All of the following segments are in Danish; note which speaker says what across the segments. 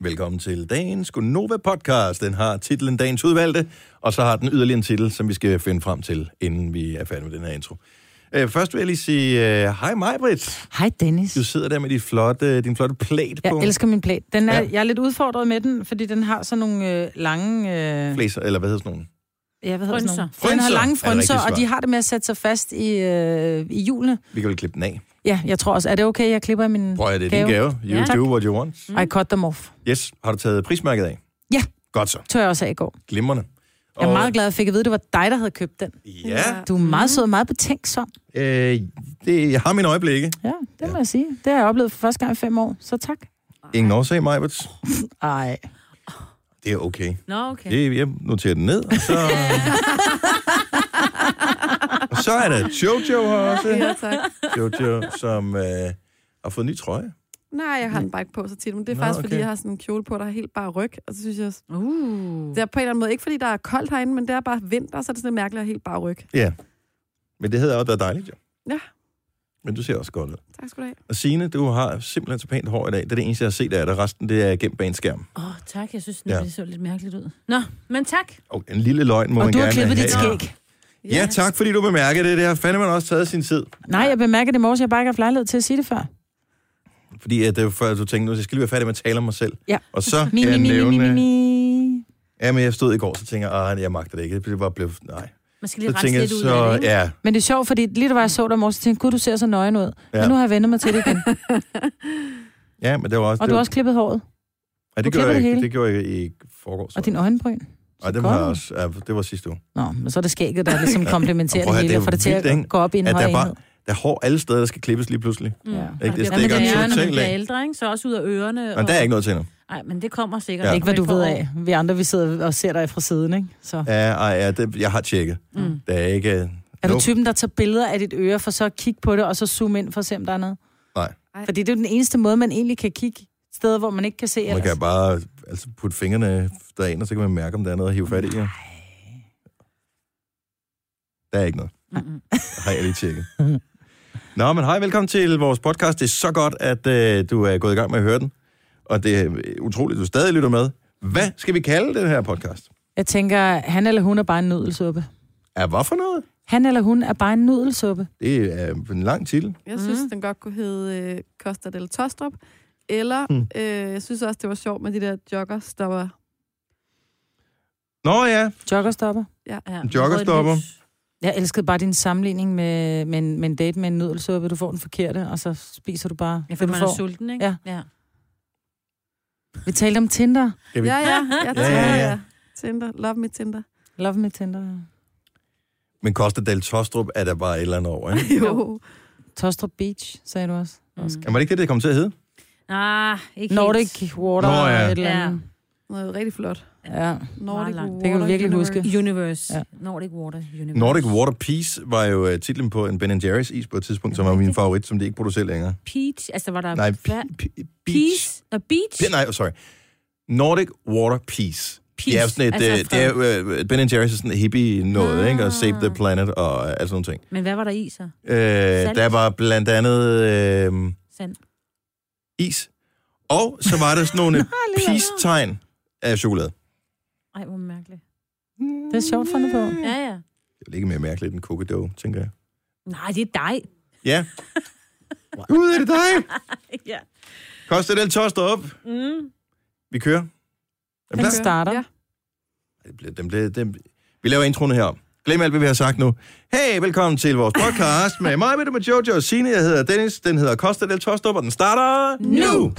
Speaker 1: Velkommen til dagens Gunova podcast. Den har titlen Dagens Udvalgte, og så har den yderligere en titel, som vi skal finde frem til, inden vi er færdige med den her intro. Øh, først vil jeg lige sige øh, hej mig, Britt.
Speaker 2: Hej Dennis.
Speaker 1: Du sidder der med dit flotte, øh, din flotte plate
Speaker 2: Jeg
Speaker 1: på.
Speaker 2: elsker min plæt. Den er,
Speaker 1: Ja.
Speaker 2: ja. Jeg er lidt udfordret med den, fordi den har sådan nogle øh, lange... Øh,
Speaker 1: Flæser, eller hvad hedder sådan nogle?
Speaker 2: ja, hvad hedder sådan nogle?
Speaker 1: Frynser.
Speaker 2: Den har lange
Speaker 1: Frynser er det rigtige
Speaker 2: frynser,
Speaker 1: svar.
Speaker 2: og de har det med at sætte sig fast i, øh, i hjulene.
Speaker 1: Vi kan vel klippe den af.
Speaker 2: Ja, jeg tror også. Er det okay, jeg klipper i min
Speaker 1: Prøv at det er din gave. You
Speaker 2: Mm. Ja. Mm.
Speaker 1: do what you want.
Speaker 2: I cut them off.
Speaker 1: Yes, har du taget prismærket af?
Speaker 2: Ja.
Speaker 1: Godt så.
Speaker 2: Tør jeg også af i går.
Speaker 1: Glimrende.
Speaker 2: Jeg er meget glad, at jeg fik at vide, at det var dig, der havde købt den.
Speaker 1: Ja,
Speaker 2: Du er meget sød og meget betænksom.
Speaker 1: øh, det, jeg har mine øjeblikke.
Speaker 2: Ja, det ja. må jeg sige. Det har jeg oplevet for første gang i fem år, så tak.
Speaker 1: Ingen årsag, Majbert.
Speaker 2: Ej.
Speaker 1: Det er okay.
Speaker 3: Nå, okay.
Speaker 1: Det, jeg noterer den ned, og så... og så er der Jojo her også.
Speaker 4: Ja, tak.
Speaker 1: Jojo, som øh, har fået en ny trøje.
Speaker 4: Nej, jeg har den bare ikke på så tit, men det er
Speaker 1: Nå,
Speaker 4: faktisk,
Speaker 1: okay.
Speaker 4: fordi jeg har sådan en kjole på, der er helt bare ryg, og så synes jeg, også-
Speaker 3: Uh.
Speaker 4: det er på en eller anden måde, ikke fordi der er koldt herinde, men det er bare vinter, så er det sådan lidt mærkeligt at have helt bare ryg.
Speaker 1: Ja. Men det havde også været dejligt, jo.
Speaker 4: Ja.
Speaker 1: Men du ser også godt ud.
Speaker 4: Tak skal du have.
Speaker 1: Og Signe, du har simpelthen så pænt hår i dag. Det er det eneste, jeg har set af dig. Resten, det er gemt bag en skærm.
Speaker 3: Åh, oh, tak. Jeg synes, nu,
Speaker 1: Ja.
Speaker 3: ja. det så lidt mærkeligt ud. Nå, men tak.
Speaker 1: Og en lille løgn må
Speaker 2: Og
Speaker 1: man
Speaker 2: du
Speaker 1: gerne
Speaker 2: har klippet dit
Speaker 1: have.
Speaker 2: skæg.
Speaker 1: Ja, tak, fordi du bemærkede det. Det har fandme også taget sin tid.
Speaker 2: Nej, jeg bemærker det i morges. Jeg har bare ikke haft lejlighed til at sige det før.
Speaker 1: Fordi at det var før, du tænkte, nu jeg skal lige være færdig med at tale om mig selv.
Speaker 2: Ja.
Speaker 1: Og så
Speaker 2: Mi,
Speaker 1: kan
Speaker 2: mi,
Speaker 1: jeg
Speaker 2: mi, mi, mi,
Speaker 1: nævne...
Speaker 2: mi.
Speaker 1: Ja, men jeg stod i går, så tænker jeg, at jeg magter det ikke. Det blev bare blevet... Nej.
Speaker 3: Man skal lige
Speaker 1: Så
Speaker 3: rense
Speaker 1: tænker jeg
Speaker 3: lidt ud af
Speaker 1: så...
Speaker 3: det, ikke?
Speaker 1: Ja,
Speaker 2: Men det er sjovt, fordi lige da jeg så dig i morges, så tænkte jeg, gud, du ser så nøgen ud. Ja.
Speaker 1: Ja.
Speaker 2: Men nu har jeg vendt mig til det igen.
Speaker 1: ja, men det var også...
Speaker 2: Og
Speaker 1: det
Speaker 2: du
Speaker 1: var,
Speaker 2: har også klippet håret.
Speaker 1: ja,
Speaker 2: du
Speaker 1: det, gjorde
Speaker 2: klipper
Speaker 1: jeg,
Speaker 2: det
Speaker 1: ikke-
Speaker 2: hele.
Speaker 1: det gjorde jeg i forgårs.
Speaker 2: Og din øjenbryn.
Speaker 1: Ej, dem
Speaker 2: godt.
Speaker 1: har jeg også... Ja, det var sidste uge.
Speaker 2: Nå, men så er det skægget, der ligesom komplementerer
Speaker 1: Og prøv at høre,
Speaker 2: det
Speaker 1: det
Speaker 2: hele,
Speaker 1: er
Speaker 2: og får det til
Speaker 1: vildt, ikke?
Speaker 2: at gå op i en
Speaker 1: At der
Speaker 2: høj
Speaker 1: bare-
Speaker 2: enhed.
Speaker 1: Der er hår alle steder, der skal klippes lige pludselig.
Speaker 3: Mm.
Speaker 2: Ja.
Speaker 1: Ikke? Det
Speaker 3: bliver
Speaker 1: stikker
Speaker 3: også værre, når man
Speaker 1: totalt
Speaker 3: bliver
Speaker 1: af.
Speaker 3: ældre, ikke? Så også ud af ørerne.
Speaker 1: Men der er ikke noget til endnu.
Speaker 3: Nej, men det kommer sikkert.
Speaker 1: Ja.
Speaker 2: Ikke hvad du
Speaker 3: Det får-
Speaker 2: ved af. Vi andre, vi sidder og ser dig fra siden, ikke? Så.
Speaker 1: Ja, ej, ja, det, jeg har tjekket.
Speaker 3: Mm.
Speaker 1: Der er ikke...
Speaker 2: Er
Speaker 1: Nope.
Speaker 2: du typen, der tager billeder af dit øre, for så at kigge på det, og så zoome ind for at se, om der er noget?
Speaker 1: Nej.
Speaker 2: Fordi det er jo den eneste måde, man egentlig kan kigge steder, hvor man ikke kan se ellers.
Speaker 1: Man kan bare altså, putte fingrene derind, og så kan man mærke, om der er noget at hive fat i. Ja. Der er ikke noget.
Speaker 3: Mm-mm.
Speaker 1: Har jeg lige tjekket. Nå, men hej, velkommen til vores podcast. Det er så godt, at øh, du er gået i gang med at høre den. Og det er utroligt, at du stadig lytter med. Hvad skal vi kalde den her podcast?
Speaker 2: Jeg tænker, han eller hun er bare en nudelsuppe.
Speaker 1: Er hvad for noget?
Speaker 2: Han eller hun er bare en nudelsuppe.
Speaker 1: Det er en lang titel.
Speaker 4: Jeg synes,
Speaker 2: Mm.
Speaker 3: Mhm.
Speaker 4: den godt kunne hedde øh, Costa del Tostrup, eller
Speaker 1: Hmm.
Speaker 4: øh, jeg synes også, det var sjovt med de der joggerstopper.
Speaker 1: Nå ja,
Speaker 2: Joggerstopper.
Speaker 3: Ja,
Speaker 1: Joggerstopper.
Speaker 3: rødt lys.
Speaker 2: Jeg elskede bare din sammenligning med, med, en, med en date med en nudelsuppe. Du får den forkerte, og så spiser du bare
Speaker 3: Ja, for
Speaker 2: det, du
Speaker 3: man er
Speaker 2: får.
Speaker 3: sulten, ikke?
Speaker 2: Ja.
Speaker 3: ja.
Speaker 2: Vi talte om Tinder.
Speaker 1: Kan vi-
Speaker 4: Ja, ja, jeg
Speaker 1: Ja,
Speaker 4: ja,
Speaker 1: ja,
Speaker 4: ja,
Speaker 1: ja.
Speaker 4: ja. Tinder. Love me Tinder.
Speaker 2: Love me Tinder.
Speaker 1: men Costa del Tostrup er der bare et eller andet over, ikke?
Speaker 4: Jo.
Speaker 2: Tostrup Beach, sagde du også. Mm.
Speaker 1: Jamen, var det ikke det, det kom til at hedde?
Speaker 3: Ah, ikke helt.
Speaker 2: Nordic Water
Speaker 1: Nå,
Speaker 2: Nå,
Speaker 1: ja.
Speaker 2: ja. et eller andet.
Speaker 4: Noget rigtig flot.
Speaker 2: Ja. ja.
Speaker 4: Nordic
Speaker 3: langt.
Speaker 4: Water
Speaker 2: Det kan vi virkelig
Speaker 4: Universe.
Speaker 2: huske.
Speaker 3: Universe.
Speaker 2: Ja.
Speaker 3: Ja. Nordic Water Universe.
Speaker 1: Nordic Water Peace var jo øh, titlen på en Ben Jerry's is på et tidspunkt, som var min favorit, som de ikke producerer længere.
Speaker 3: Peach, altså var der...
Speaker 1: Nej,
Speaker 3: Hva?
Speaker 1: pe- pe- Beach.
Speaker 3: Peace? Nå, Beach?
Speaker 1: Pe- nej, oh, sorry. Nordic Water Peace.
Speaker 3: Peace.
Speaker 1: Det er jo sådan et,
Speaker 3: altså
Speaker 1: altså, det er, øh, Ben Jerry's er sådan et hippie noget, ah.
Speaker 3: Ah.
Speaker 1: ikke? Og Save the Planet og øh, alt sådan nogle ting.
Speaker 3: Men hvad var der i så?
Speaker 1: Øh, der var blandt andet øh,
Speaker 3: Sand.
Speaker 1: is, og så var der sådan nogle peace-tegn af chokolade.
Speaker 3: Ej, hvor mærkeligt.
Speaker 2: Det er sjovt fundet på.
Speaker 3: Ja, ja.
Speaker 1: Det er vel ikke mere mærkeligt end cookie dough, tænker jeg.
Speaker 3: Nej, det er dig.
Speaker 1: Ja. Ud er det dig!
Speaker 3: ja.
Speaker 1: Koster det tost op.
Speaker 3: Mm.
Speaker 1: Vi kører. Er vi
Speaker 2: Den
Speaker 1: klar?
Speaker 2: starter.
Speaker 4: Ja.
Speaker 1: Det bliver, den bliver, den, vi laver introen her. Glem alt, hvad vi har sagt nu. Hey, velkommen til vores podcast med mig, med, med Jojo og Signe. Jeg hedder Dennis, den hedder Costa del Tostrup, og den starter nu.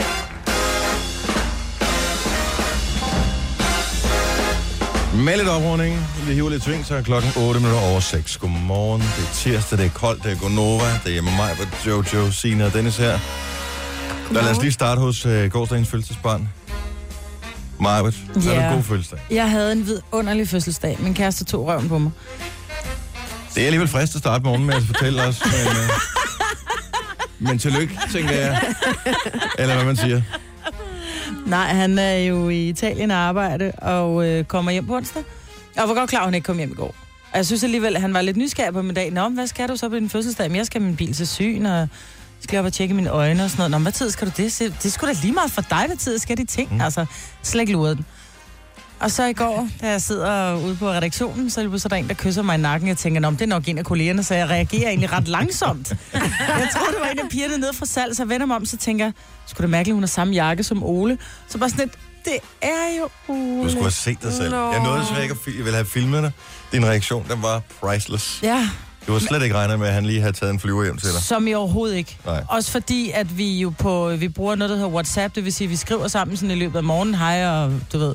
Speaker 1: Med lidt oprunding. Vi hiver lidt sving, så er klokken 8 minutter over 6. Godmorgen. Det er tirsdag, det er koldt, det er Gonova. Det er mig, med Jojo, Signe og Dennis her. Nå, lad os lige starte hos øh, gårsdagens fødselsbarn. Majbert, så er det
Speaker 2: Ja.
Speaker 1: en god fødselsdag.
Speaker 2: Jeg havde en vidunderlig fødselsdag. Min kæreste tog røven på mig.
Speaker 1: Det er alligevel frist at starte morgenen med at fortælle os. Men, øh, men tillykke, tænker jeg. Eller hvad man siger.
Speaker 2: Nej, han er jo i Italien og arbejde og øh, kommer hjem på onsdag. Jeg var godt klar, at hun ikke kom hjem i går. Og jeg synes alligevel, at han var lidt nysgerrig på min dag. Nå, men hvad skal du så på din fødselsdag? Jamen, jeg skal have min bil til syn, og skal jeg op og tjekke mine øjne og sådan noget. Nå, men hvad tid skal du det? Se, Det er sgu da lige meget for dig, hvad tid skal de ting? Mm. Altså, slet ikke luret den. Og så i går, da jeg sidder ude på redaktionen, så er det så der en, der kysser mig i nakken. Jeg tænker, "Nå, men det er nok en af kollegerne, så jeg reagerer egentlig ret langsomt. jeg tror, det var en af pigerne nede fra salg, så vender mig om, så tænker jeg, skulle det mærkeligt, hun har samme jakke som Ole? Så bare sådan lidt, det er jo Ole.
Speaker 1: Du skulle have set dig selv.
Speaker 4: Nå.
Speaker 1: Jeg nåede desværre ikke at fi- jeg ville have filmet dig. Din reaktion, den var priceless.
Speaker 2: Ja,
Speaker 1: Du var slet ikke regnet med, at han lige havde taget en flyver hjem til dig.
Speaker 2: Som i overhovedet ikke.
Speaker 1: Nej.
Speaker 2: Også fordi, at vi jo på, vi bruger noget, der hedder WhatsApp, det vil sige, at vi skriver sammen sådan i løbet af morgenen, hej og du ved.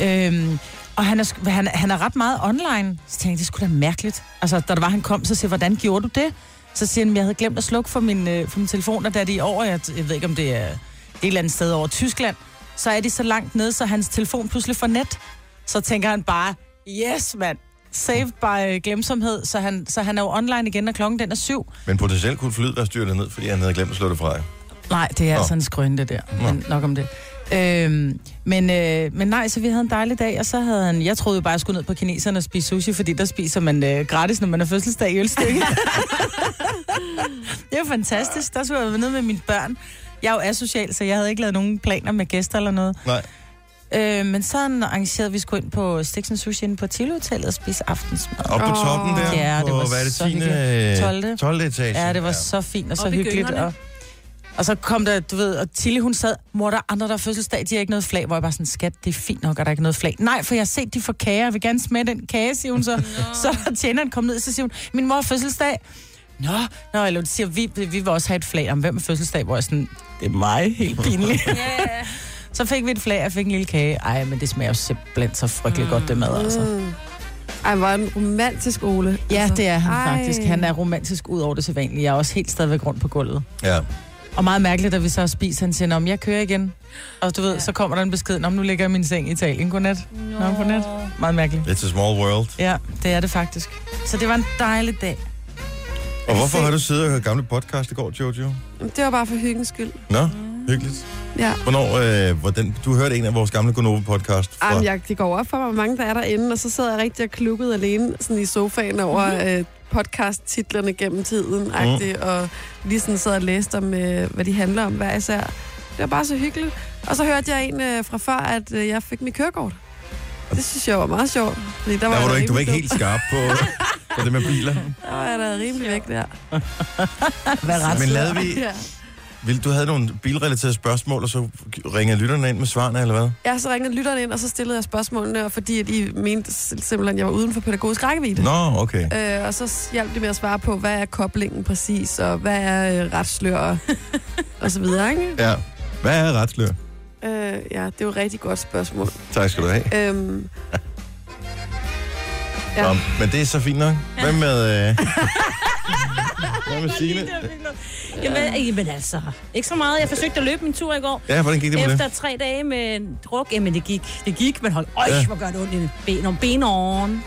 Speaker 2: Øhm, og han er, sk- han, han er ret meget online. Så tænkte jeg, det skulle da mærkeligt. Altså, da der var, han kom, så siger jeg, hvordan gjorde du det? Så siger han, jeg havde glemt at slukke for min, øh, for min telefon, og da de er over, jeg, jeg ved ikke, om det er et eller andet sted over Tyskland, så er de så langt nede, så hans telefon pludselig får net. Så tænker han bare, yes, mand, saved by glemsomhed, så han, så han er jo online igen, og klokken den er syv.
Speaker 1: Men potentielt kunne flyet være styrtet ned, fordi han havde glemt at slå det fra. jer.
Speaker 2: Nej, det er
Speaker 1: Nå.
Speaker 2: altså en skrøn, det der. Men nok om det. Øhm, men, øh, men nej, så vi havde en dejlig dag, og så havde han... Jeg troede jo bare, jeg skulle ned på kineserne og spise sushi, fordi der spiser man øh, gratis, når man har fødselsdag i ølstykke. det var fantastisk. Der skulle jeg være nede med mine børn. Jeg er jo asocial, så jeg havde ikke lavet nogen planer med gæster eller noget.
Speaker 1: Nej.
Speaker 2: Øh, men sådan arrangerede vi skulle ind på Stiksen Sushi inde på Tille Hotellet og spise aftensmad.
Speaker 1: Op på
Speaker 4: Åh.
Speaker 1: toppen der,
Speaker 2: Ja, det
Speaker 1: på,
Speaker 2: var
Speaker 1: hvad er det,
Speaker 2: så
Speaker 1: 10.
Speaker 2: hyggeligt.
Speaker 1: 12.
Speaker 2: 12.
Speaker 1: 12. etage.
Speaker 2: Ja, det var så fint og så
Speaker 3: Op i
Speaker 2: hyggeligt.
Speaker 3: gyngerne.
Speaker 2: Og, og så kom der, du ved, og Tilly hun sad, mor, der er andre, der har fødselsdag, de har ikke noget flag, hvor jeg bare sådan, skat, det er fint nok, at der er ikke noget flag. Nej, for jeg har set, de får kager, jeg vil gerne smage den kage, siger hun så. så er der tjeneren kom ned, så siger hun, min mor har fødselsdag. Nå, nå, eller hun siger, vi, vi vil også have et flag om, hvem er fødselsdag, hvor jeg sådan, det er mig, helt pinligt.
Speaker 3: Yeah.
Speaker 2: så fik vi et flag, jeg fik en lille kage. Ej, men det smager jo simpelthen så frygteligt godt, det mad, altså.
Speaker 4: Mm. Ej, hvor er en romantisk Ole.
Speaker 2: Ja,
Speaker 4: altså.
Speaker 2: det er han
Speaker 4: Ej.
Speaker 2: faktisk. Han er romantisk ud over det sædvanlige. Jeg er også helt stadigvæk rundt på gulvet.
Speaker 1: Ja.
Speaker 2: Og meget mærkeligt, at vi så spiser, han siger, om jeg kører igen. Og du ved,
Speaker 3: Ja.
Speaker 2: ja. så kommer der en besked, om nu ligger jeg i min seng i Italien. Godnat.
Speaker 3: Nå.
Speaker 2: Nå, godnat. Meget mærkeligt.
Speaker 1: It's a small world.
Speaker 2: Ja, det er det faktisk. Så det var en dejlig dag.
Speaker 1: Og hvorfor har du siddet og hørt gamle podcast i går, Jojo?
Speaker 4: Det var bare for hyggens skyld.
Speaker 1: Nå, hyggeligt.
Speaker 4: Ja.
Speaker 1: Hvornår, øh, hvordan, du hørte en af vores gamle Gonova-podcast fra...
Speaker 4: Jamen, jeg, det går op for mig, hvor mange der er derinde, og så sidder jeg rigtig og klukket alene sådan i sofaen over
Speaker 1: Mhm.
Speaker 4: mm-hmm. øh, podcast-titlerne gennem tiden, mm. og lige sådan sad og læste om, øh, hvad de handler om hver især. Det var bare så hyggeligt. Og så hørte jeg en øh, fra før, at øh, jeg fik mit kørekort. Det synes jeg var meget sjovt. Fordi der,
Speaker 1: der var
Speaker 4: jeg
Speaker 1: du
Speaker 4: da
Speaker 1: ikke, du var
Speaker 4: rimelig
Speaker 1: ikke helt skarp på, på det med biler.
Speaker 4: dum. Der var jeg da rimelig væk der.
Speaker 2: Hvad ret?
Speaker 1: Men lavede vi...
Speaker 4: Ja.
Speaker 1: Vil, du havde nogle bilrelaterede spørgsmål, og så ringede lytterne ind med svarene, eller hvad?
Speaker 4: Ja, så ringede lytterne ind, og så stillede jeg spørgsmålene, og fordi at I mente sim- simpelthen, at jeg var uden for pædagogisk rækkevidde.
Speaker 1: Nå, okay.
Speaker 4: Øh, og så hjalp det med at svare på, hvad er koblingen præcis, og hvad er øh, retslør, og, og så videre, ikke?
Speaker 1: Ja. Hvad er retslør?
Speaker 4: Øh, ja, det er jo et rigtig godt spørgsmål.
Speaker 1: Tak skal du have.
Speaker 4: Øhm,
Speaker 1: Ja.
Speaker 4: Ja.
Speaker 1: Nå, men det er så fint nok. Hvad med... Øh... Hvad med Signe?
Speaker 3: Jamen, jamen altså, ikke så meget. Jeg forsøgte at løbe min tur i går.
Speaker 1: Ja, hvordan gik det med
Speaker 3: Efter
Speaker 1: det?
Speaker 3: tre dage med en druk, jamen det gik. Det gik, men hold øj,
Speaker 1: Ja.
Speaker 3: ja. hvor gør det ondt i ben om benåren.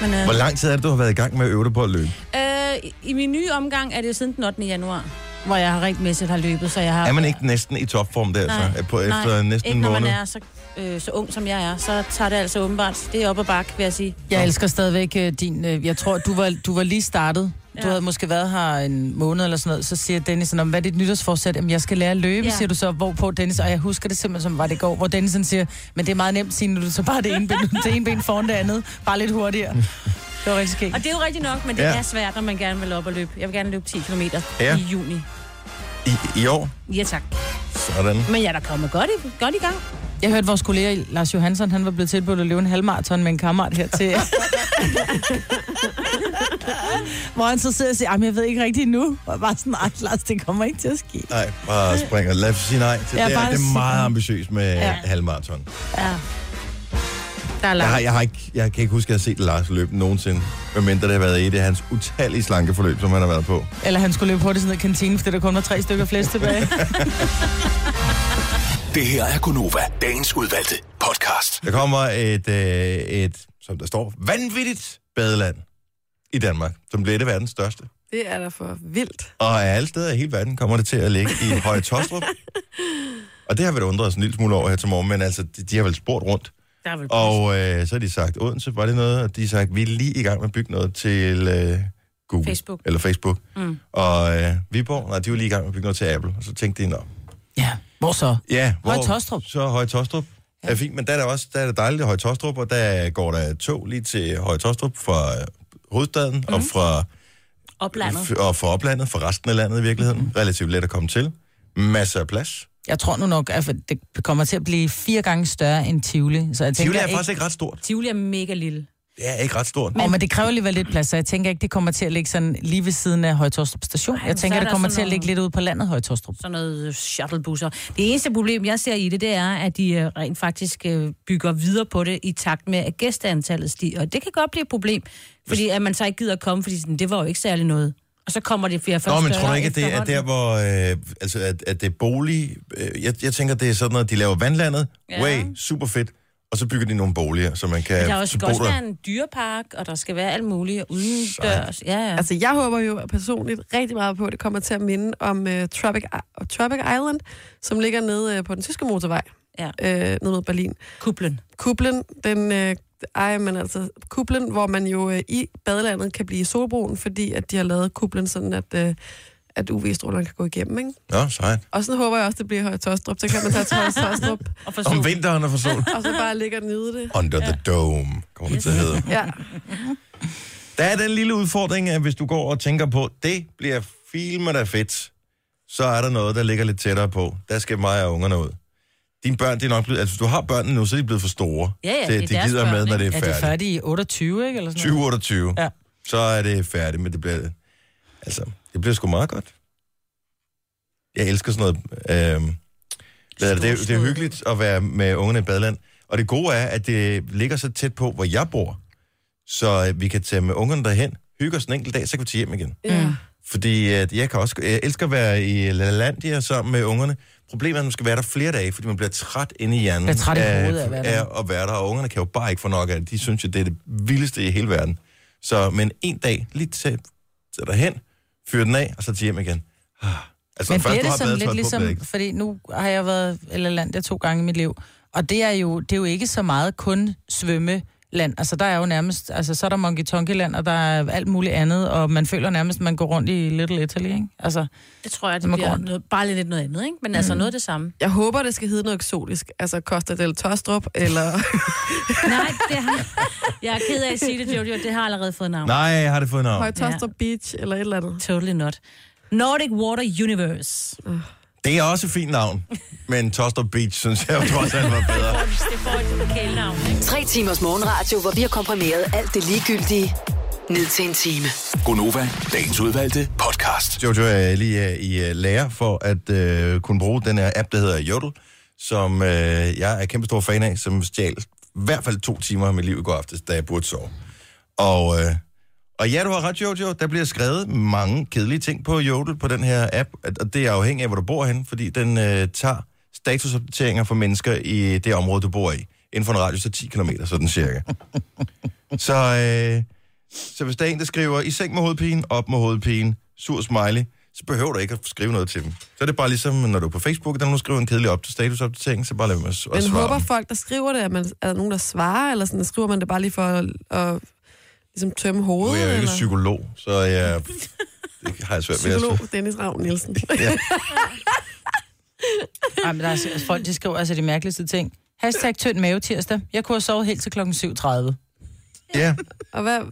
Speaker 3: Men, øh,
Speaker 1: Hvor lang tid er det, du har været i gang med at øve dig på at løbe?
Speaker 3: øh, i- I min nye omgang er det siden den 8. januar, hvor jeg har regelmæssigt har løbet, så jeg har...
Speaker 1: Er man ikke næsten i topform der, så? På, efter
Speaker 3: nej,
Speaker 1: næsten
Speaker 3: ikke
Speaker 1: en
Speaker 3: når
Speaker 1: måned?
Speaker 3: man er så, øh, så ung, som jeg er. Så tager det altså åbenbart. Det er op og bakke, vil jeg sige.
Speaker 2: Jeg elsker stadigvæk øh, din... øh, Jeg tror, du var, du var lige startet. Du
Speaker 3: Ja.
Speaker 2: havde måske været her en måned eller sådan noget, så siger Dennis, sådan, "Nå, hvad er dit nytårsforsæt? Jamen, jeg skal lære at løbe,
Speaker 3: Ja.
Speaker 2: ja. siger du så, hvorpå Dennis, og jeg husker det simpelthen, som var det i går, hvor Dennis sådan siger, men det er meget nemt, Signe, du tager bare det ene ben, det ene ben foran det andet, bare lidt hurtigere. Det var rigtig skægt.
Speaker 3: Og det er jo rigtigt nok, men det
Speaker 1: Ja.
Speaker 3: ja. er svært, når man gerne vil op og løbe. Jeg vil gerne løbe 10 km
Speaker 1: Ja.
Speaker 3: ja. i juni.
Speaker 1: I, I år?
Speaker 3: Ja tak.
Speaker 1: Sådan.
Speaker 3: Men jeg er da kommet godt i, godt i gang.
Speaker 2: Jeg hørte vores kollega Lars Johansson, han var blevet tilbudt at løbe en halvmarathon med en kammerat her til. Hvor han så sidder og siger, "Jamen, jeg ved ikke rigtigt nu. Og jeg bare sådan, nej Lars, det kommer ikke til at ske.
Speaker 1: Nej, bare springer. Lad os sige nej til
Speaker 2: Ja,
Speaker 1: det. her.
Speaker 2: bare
Speaker 1: Det er
Speaker 2: sig-
Speaker 1: meget ambitiøst med ja.
Speaker 2: Ja.
Speaker 1: halvmarathon.
Speaker 3: Ja. Der er
Speaker 1: Jeg, har,
Speaker 3: langt.
Speaker 1: jeg, har ikke, jeg kan ikke huske, at jeg har set Lars løbe nogensinde, medmindre det har været et af hans utallige slankeforløb, som han har været på.
Speaker 2: Eller han skulle løbe hurtigt sådan ned i kantinen, fordi der kun var tre stykker flæsk tilbage.
Speaker 5: Det her er Gunova, dagens udvalgte podcast.
Speaker 1: Der kommer et, øh, et, som der står, vanvittigt badeland i Danmark, som bliver et af verdens største.
Speaker 4: det er da for vildt.
Speaker 1: Og af alle steder i hele verden kommer det til at ligge i Høje Tostrup. Og det har vi da undret os en lille smule over her til morgen, men altså, de, de har vel spurgt rundt.
Speaker 3: Der er vel plads.
Speaker 1: Og øh, så har de sagt, Odense, var det noget? Og de har sagt, vi er lige i gang med at bygge noget til, øh, Google.
Speaker 3: Facebook.
Speaker 1: Eller Facebook.
Speaker 3: Mm.
Speaker 1: Og øh, Viborg, nej, de var lige i gang med at bygge noget til Apple. Og så tænkte de, nå,
Speaker 2: Ja, hvor så?
Speaker 1: Ja, hvor,
Speaker 2: Høje Taastrup.
Speaker 1: Så Høje Tostrup. Ja. Er fint, men der er, der også, der er det dejligt i Høje Tostrup, og der går der tog lige til Høje Tostrup fra øh, hovedstaden mm.
Speaker 3: Mhm.
Speaker 1: og, fra,
Speaker 3: Oplandet.
Speaker 1: f- og fra oplandet, fra resten af landet i virkeligheden.
Speaker 3: Mhm.
Speaker 1: Mm. Relativt let at komme til. Masser af plads.
Speaker 2: Jeg tror nu nok, at det kommer til at blive fire gange større end Tivoli. Så jeg tænker
Speaker 1: Tivoli er
Speaker 2: ikke,
Speaker 1: faktisk ikke ret stort.
Speaker 3: Tivoli er mega lille.
Speaker 1: Det er ikke ret stort.
Speaker 2: Men, oh, men det kræver alligevel lidt plads, så jeg tænker ikke, det kommer til at ligge sådan lige ved siden af Højtorstrup station.
Speaker 3: Ej,
Speaker 2: Ej,
Speaker 3: men
Speaker 2: jeg
Speaker 3: så
Speaker 2: tænker,
Speaker 3: er
Speaker 2: det
Speaker 3: der
Speaker 2: kommer
Speaker 3: sådan
Speaker 2: til at
Speaker 3: nogle-
Speaker 2: ligge lidt ude på landet, Højtorstrup.
Speaker 3: Sådan noget shuttlebusser. Det eneste problem, jeg ser i det, det er, at de øh, rent faktisk øh, bygger videre på det i takt med, at gæsteantallet stiger. Og det kan godt blive et problem, fordi at man så ikke gider at komme, fordi sådan, det var jo ikke særlig noget. Og så kommer det flere
Speaker 1: Nå,
Speaker 3: først
Speaker 1: men tror du
Speaker 3: større
Speaker 1: ikke, at det er
Speaker 3: efterhånden.
Speaker 1: der, hvor... Øh, altså, at, at det er bolig... Øh, jeg, jeg tænker, det er sådan noget, at de laver vandlandet. Ja.
Speaker 3: Ja.
Speaker 1: Way, super fedt. Og så bygger de nogle boliger, så man kan...
Speaker 3: Der er jo
Speaker 1: så
Speaker 3: skal
Speaker 1: bo
Speaker 3: også
Speaker 1: der.
Speaker 3: være en dyrepark, og der skal være alt muligt udendørs. Ja, ja.
Speaker 4: Altså, jeg håber jo personligt rigtig meget på, at det kommer til at minde om uh, Tropic, I- Tropic Island, som ligger nede uh, på den tyske motorvej,
Speaker 3: Ja.
Speaker 4: uh, ned mod Berlin.
Speaker 3: Kuplen.
Speaker 4: Kuplen, den... Øh, ej, men altså, kuplen, hvor man jo øh, i badelandet kan blive solbrun, fordi at de har lavet kuplen sådan, at, øh, at UV-strålerne kan gå igennem, ikke?
Speaker 1: Nå, sejt.
Speaker 4: Og sådan håber jeg også, det bliver Høje Tostrup. Så kan man tage til Høje Tostrup,
Speaker 3: Og for
Speaker 1: Om
Speaker 3: sol.
Speaker 1: vinteren og for sol.
Speaker 4: og så bare ligge og nyde det.
Speaker 1: Under the Dome, kommer det til at hedde.
Speaker 4: Ja,
Speaker 1: Der er den lille udfordring, at hvis du går og tænker på, det bliver filmet der fedt, så er der noget, der ligger lidt tættere på. Der skal mig og ungerne ud. Dine børn, de er nok blevet, altså hvis du har børnene nu, så er de blevet for store.
Speaker 3: Ja, ja, det
Speaker 1: til,
Speaker 3: er
Speaker 1: at de
Speaker 3: deres
Speaker 1: gider
Speaker 3: børn,
Speaker 1: med, når
Speaker 3: ikke?
Speaker 1: det er
Speaker 2: Er det
Speaker 1: færdigt.
Speaker 2: færdigt i 28, ikke? Eller sådan noget?
Speaker 1: 2028,
Speaker 2: Ja.
Speaker 1: så er det færdigt, men det bliver, altså, det bliver sgu meget godt. Jeg elsker sådan noget. Øh, det, det, det er hyggeligt at være med ungerne i badeland. Og det gode er, at det ligger så tæt på, hvor jeg bor, så øh, vi kan tage med ungerne derhen, hygge os en enkelt dag, så kan vi tage hjem igen.
Speaker 4: ja.
Speaker 1: Fordi at jeg, kan også, jeg elsker at være i Lalandia sammen med ungerne. Problemet er, at man skal være der flere dage, fordi man bliver træt inde i hjernen.
Speaker 2: Bliver træt i hovedet af at være der.
Speaker 1: af at være der. Og ungerne kan jo bare ikke få nok af det. De synes jo, det er det vildeste i hele verden. Så, men en dag, lige til, til derhen, fyr den af, og så til hjem igen. Ah. Altså,
Speaker 2: Men
Speaker 1: først du
Speaker 2: bliver det
Speaker 1: har
Speaker 2: sådan
Speaker 1: badetøjet
Speaker 2: lidt
Speaker 1: på, bliver
Speaker 2: ligesom,
Speaker 1: det ikke.
Speaker 2: fordi nu har jeg været eller land der to gange i mit liv, og det er jo, det er jo ikke så meget kun svømmeland. Altså der er jo nærmest, altså så er der Monkey Tonky Land, og der er alt muligt andet, og man føler nærmest, at man går rundt i Little Italy, ikke? Altså,
Speaker 3: Det tror jeg,
Speaker 2: Som
Speaker 3: det
Speaker 2: er
Speaker 3: bliver
Speaker 2: grøn.
Speaker 3: noget, bare lidt noget andet, ikke? Men altså
Speaker 1: Mm.
Speaker 3: noget af det samme.
Speaker 4: Jeg håber, det skal hedde noget eksotisk. Altså Costa del Tostrup, eller...
Speaker 3: Nej, det har... Jeg er ked af at sige det, Jojo. Det har allerede fået navn.
Speaker 1: Nej, jeg har det fået navn.
Speaker 4: Høje Tostrup Beach, eller et eller andet.
Speaker 3: Totally not. Nordic Water Universe.
Speaker 1: Det er også et fint navn. Men Toster Beach, synes jeg jo trods alt var bedre.
Speaker 3: Det får et lokalnavn, ikke?
Speaker 6: Tre timers morgenradio, hvor vi har komprimeret alt det ligegyldige ned til en time.
Speaker 5: Gonova, dagens udvalgte podcast.
Speaker 1: Jojo er lige øh, i øh, lære for at øh, kunne bruge den her app, der hedder Jodel, som øh, jeg er kæmpestor fan af, som stjal i hvert fald to timer af mit liv i går aftes, da jeg burde sove. Og, øh, og ja, du har ret, Jojo, der bliver skrevet mange kedelige ting på Jodel på den her app, at- og det er afhængigt af, hvor du bor hen, fordi den øh, tager statusopdateringer for mennesker i det område, du bor i, inden for en radius af 10 km, sådan cirka. Så, øh, så hvis der er en, der skriver, i seng med hovedpine, op med hovedpine, sur smiley, så behøver du ikke at skrive noget til dem. Så er det bare ligesom, når du er på Facebook, der er nogen, der skriver en kedelig op til statusopdatering, så bare lad dem at, at svare.
Speaker 4: Men håber
Speaker 1: dem.
Speaker 4: folk, der skriver det, at man, er der nogen, der svarer, eller sådan, skriver man det bare lige for at, at ligesom tømme
Speaker 1: Nu
Speaker 4: hovedet?
Speaker 1: er jeg jo ikke
Speaker 4: eller?
Speaker 1: psykolog, så jeg... Det har jeg svært ved at
Speaker 4: Psykolog Dennis Ravn Nielsen.
Speaker 2: ej, men der er altså- altså, folk, de skriver altså de mærkeligste ting. Hashtag tynd mave tirsdag. Jeg kunne have sovet helt til klokken 7.30.
Speaker 1: Ja,
Speaker 4: Og hvad,
Speaker 2: Men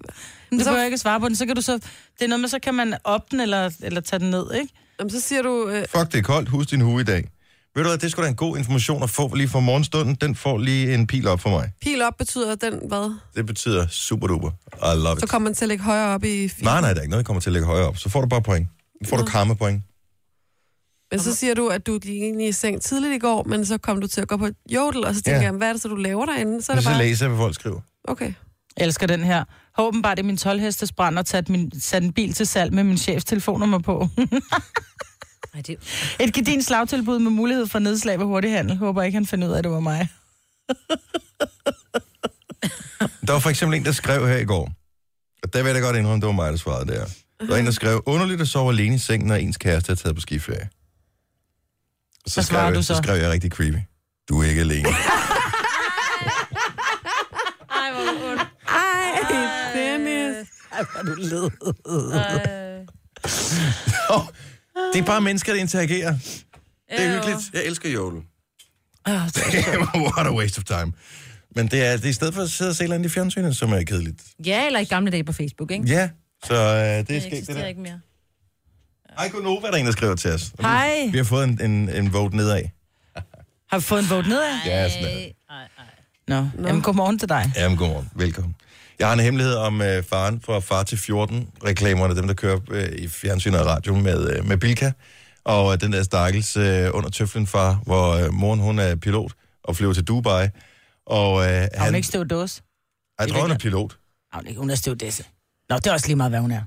Speaker 2: du
Speaker 4: Så-
Speaker 2: behøver ikke at svare på den, så kan du så... Det er noget med, så kan man op den eller, eller tage den ned, ikke?
Speaker 4: jamen, så siger du, øh,
Speaker 1: fuck det er koldt, husk din hue i dag. Ved du hvad, det skulle da en god information at få lige fra morgenstunden. Den får lige en pil op for mig.
Speaker 4: pil op betyder den hvad?
Speaker 1: Det betyder super duper. I love it.
Speaker 4: Så kommer man til at ligge højere op i fil.
Speaker 1: Nej, nej, der er ikke noget, der kommer til at ligge højere op. Så får du bare point. Så
Speaker 4: Mm.
Speaker 1: får du karma point.
Speaker 4: Men så siger du, at du gik egentlig i seng tidligt i går, men så kom du til at gå på jodel, og så tænker
Speaker 1: Ja.
Speaker 4: ja. jeg, hvad er det så, du laver derinde? Så er
Speaker 1: Men
Speaker 4: det
Speaker 1: så
Speaker 4: bare,
Speaker 1: læser jeg, hvad folk skriver.
Speaker 4: okay.
Speaker 2: Jeg elsker den her. Har åbenbart i min 12-hestes brand og sat, min, sat en bil til salg med min chefs telefonnummer på.
Speaker 3: Nej, det er
Speaker 2: Et gedin slagtilbud med mulighed for nedslag ved hurtighandel. Håber ikke, han finder ud af, at det var mig.
Speaker 1: Der var for eksempel en, der skrev her i går, og der vil jeg da godt indrømme, det var mig, der svarede der. Der var en, der skrev, underligt at sove alene i sengen, når ens kæreste er taget på skiferie. Og så,
Speaker 2: Hvad svarer
Speaker 1: skrev,
Speaker 2: du
Speaker 1: jeg, så?
Speaker 2: så?
Speaker 1: skrev jeg rigtig creepy. Du er ikke alene.
Speaker 4: Ej, Dennis.
Speaker 2: hvor er du led.
Speaker 1: Det er bare mennesker, der interagerer. Det er hyggeligt. Jeg elsker jorden.
Speaker 2: Åh, det-
Speaker 1: What a waste of time. Men det er, det er i stedet for at sidde og se et eller andet i fjernsynet, som er kedeligt.
Speaker 3: Ja, eller i gamle dage på Facebook, ikke?
Speaker 1: Ja, så øh, det er
Speaker 3: det
Speaker 1: sket det
Speaker 3: eksisterer
Speaker 1: der.
Speaker 3: ikke mere.
Speaker 1: Hej, Gunova, der er en, der skriver til os. Og vi-
Speaker 2: Hej.
Speaker 1: Vi har fået en, en, en vote nedad.
Speaker 2: Har vi fået en vote nedad?
Speaker 1: Ja, sådan er det.
Speaker 2: Nå,
Speaker 4: Øh,
Speaker 2: no. jamen godmorgen til dig.
Speaker 1: Jamen, godmorgen. Velkommen. Jeg har en hemmelighed om øh, faren fra Far til 14, reklamerne, dem der kører øh, i fjernsyn og radio med, øh, med Bilka. Og øh, den der stakkels øh, under tøflen far, hvor øh, moren hun er pilot og flyver til Dubai. Og øh, han,
Speaker 2: Har hun ikke støvet dåse?
Speaker 1: jeg tror, hun er pilot.
Speaker 2: Har hun ikke? Hun er støvet disse. Nå, det er også lige meget, hvad hun er.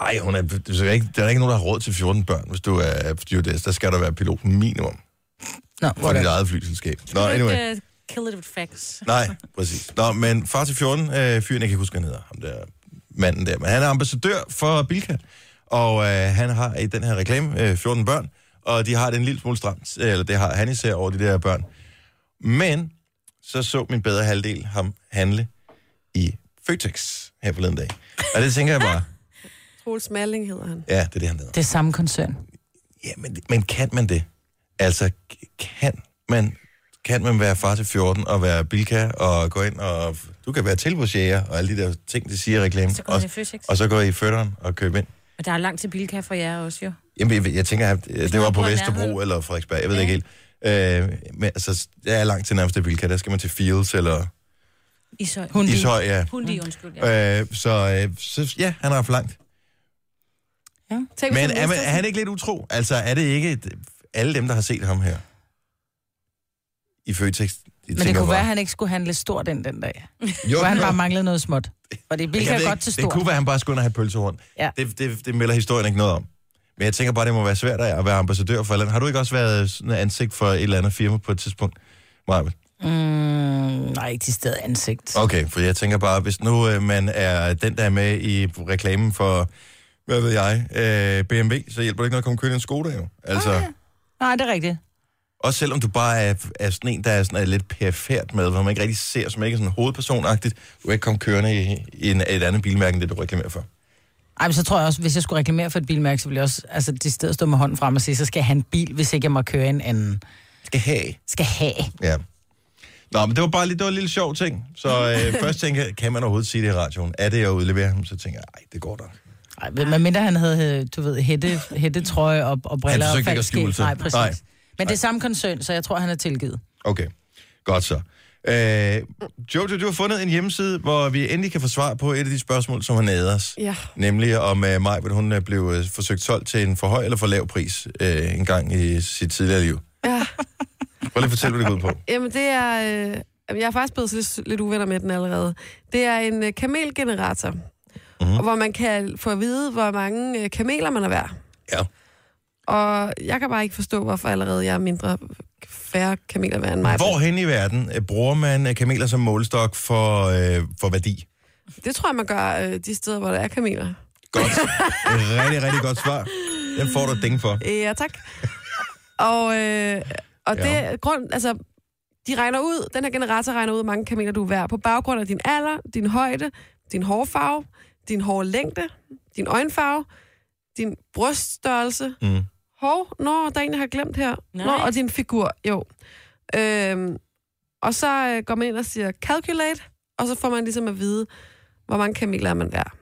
Speaker 1: Ej, hun er, der, er ikke, der er ikke nogen, der har råd til 14 børn, hvis du er stewardess. Der skal der være pilot minimum
Speaker 2: Nå,
Speaker 1: for dit
Speaker 2: whatever.
Speaker 1: eget flyselskab. Nå,
Speaker 3: Kan du
Speaker 1: anyway.
Speaker 3: ikke, øh, Kill it with facts.
Speaker 1: Nej, præcis. Nå, men far til 14, øh, fyren, jeg kan ikke huske, hvad han hedder, ham der manden der, men han er ambassadør for Bilka, og øh, han har i den her reklame øh, 14 børn, og de har det en lille smule stramt, øh, eller det har han især over de der børn. Men så så min bedre halvdel ham handle i Føtex her forleden dag. Og det tænker jeg bare,
Speaker 4: Troels Malling hedder han.
Speaker 1: ja, det er det, han hedder.
Speaker 2: Det er samme koncern.
Speaker 1: Ja, men, men kan man det? Altså, k- kan man, kan man være far til 14 og være bilka og gå ind og... Du kan være tilbudsjæger og alle de der ting, de siger i reklamen.
Speaker 3: Så går
Speaker 1: og,
Speaker 3: man i Føtex.
Speaker 1: og så går I i fødderen og køber ind.
Speaker 3: Og der er langt til bilka for jer også, jo.
Speaker 1: Jamen, jeg, jeg tænker, at øh, det var
Speaker 3: man
Speaker 1: på
Speaker 3: bor i
Speaker 1: Vesterbro
Speaker 3: nærheden.
Speaker 1: eller Frederiksberg, jeg ved ikke helt. Øh, men altså, jeg er langt til nærmeste bilka, der skal man til Fields eller
Speaker 3: I så...
Speaker 2: Hun lige.
Speaker 1: Ishøj, ja.
Speaker 3: Hundi, undskyld. Ja.
Speaker 1: Øh, så, øh, så ja, han har haft langt.
Speaker 4: Tænk,
Speaker 1: Men
Speaker 4: hvis
Speaker 1: er, man, er
Speaker 4: vidste,
Speaker 1: han ikke lidt utro? Altså, er det ikke et- alle dem, der har set ham her? I Føtex. de
Speaker 2: Men
Speaker 1: tænker
Speaker 2: det kunne
Speaker 1: bare,
Speaker 2: være, at han ikke skulle handle stort den, den dag.
Speaker 1: Jo,
Speaker 2: Hvor han
Speaker 1: jo.
Speaker 2: bare manglede noget småt. For det er
Speaker 1: Jeg
Speaker 2: Bilka
Speaker 1: ved
Speaker 2: godt
Speaker 1: ikke,
Speaker 2: til
Speaker 1: Det
Speaker 2: stort.
Speaker 1: kunne være, at han bare skulle ind og have pølsehorn.
Speaker 2: Ja.
Speaker 1: Det, det, det melder historien ikke noget om. Men jeg tænker bare, det må være svært at være ambassadør for et eller andet. Har du ikke også været sådan et ansigt for et eller andet firma på et tidspunkt? Maja?
Speaker 2: Mm, nej, ikke til stedet ansigt.
Speaker 1: Okay, for jeg tænker bare, hvis nu øh, man er den, der er med i reklamen for, hvad ved jeg, øh, BMW, så hjælper det ikke noget at komme kørende i en Skoda jo. Altså, okay.
Speaker 2: Nej, det er rigtigt.
Speaker 1: Også selvom du bare er, er sådan en, der er, sådan, er lidt perifert med, hvor man ikke rigtig ser, som ikke er sådan hovedpersonagtigt, du kan ikke komme kørende i, i en, et andet bilmærke, end det du reklamerer for.
Speaker 2: Ej, men så tror jeg også, hvis jeg skulle reklamere for et bilmærke, så ville jeg også altså, det sted stå med hånden frem og sige, så skal jeg have en bil, hvis ikke jeg må køre en anden.
Speaker 1: Skal have.
Speaker 2: Skal have.
Speaker 1: Ja. Nå, men det var bare lige, det var en lille sjov ting. Så øh, først tænkte jeg, kan man overhovedet sige det i radioen? Er det, jeg udleverer ham? Så tænker jeg, nej, det går da.
Speaker 2: Ej, men medmindre han havde, øh, du ved, hætte, hættetrøje og, og briller
Speaker 1: forsøgte
Speaker 2: og
Speaker 1: ikke at
Speaker 2: falsk
Speaker 1: skjule sig.
Speaker 2: skæg. Nej, præcis.
Speaker 1: Nej.
Speaker 2: Nej. Men det er samme koncern, så jeg tror, han er tilgivet.
Speaker 1: Okay, godt så. Øh, Jojo, du har fundet en hjemmeside, hvor vi endelig kan få svar på et af de spørgsmål, som har naget os.
Speaker 4: Ja.
Speaker 1: Nemlig om øh, Maj, hun øh, blev øh, forsøgt solgt til en for høj eller for lav pris øh, en gang i sit tidligere liv.
Speaker 4: Ja.
Speaker 1: Prøv lige at fortælle, hvad det går ud på.
Speaker 4: Jamen, det er... Øh, jamen, jeg er faktisk blevet lidt, lidt uvenner med den allerede. Det er en øh, kamelgenerator,
Speaker 1: Mhm.
Speaker 4: mm-hmm. hvor man kan få at vide, hvor mange øh, kameler man er værd.
Speaker 1: Ja.
Speaker 4: Og jeg kan bare ikke forstå, hvorfor allerede jeg er mindre færre kameler værd end mig.
Speaker 1: Hvor hen i verden øh, bruger man øh, kameler som målestok for, øh, for værdi?
Speaker 4: Det tror jeg, man gør øh, de steder, hvor der er kameler.
Speaker 1: Godt. Et rigtig, rigtig godt svar. Den får du et ding for.
Speaker 4: Øh, Ja, tak. og øh, og det
Speaker 1: Ja.
Speaker 4: ja. grund, altså, de regner ud, den her generator regner ud, hvor mange kameler du er værd, på baggrund af din alder, din højde, din hårfarve, din hårlængde, din øjenfarve, din bryststørrelse.
Speaker 1: Mm.
Speaker 4: Hov, nå, der er en, jeg har glemt her. Nå,
Speaker 3: Nej.
Speaker 4: og din figur, jo. Øhm, og så øh, går man ind og siger calculate, og så får man ligesom at vide, hvor mange kameler er man værd.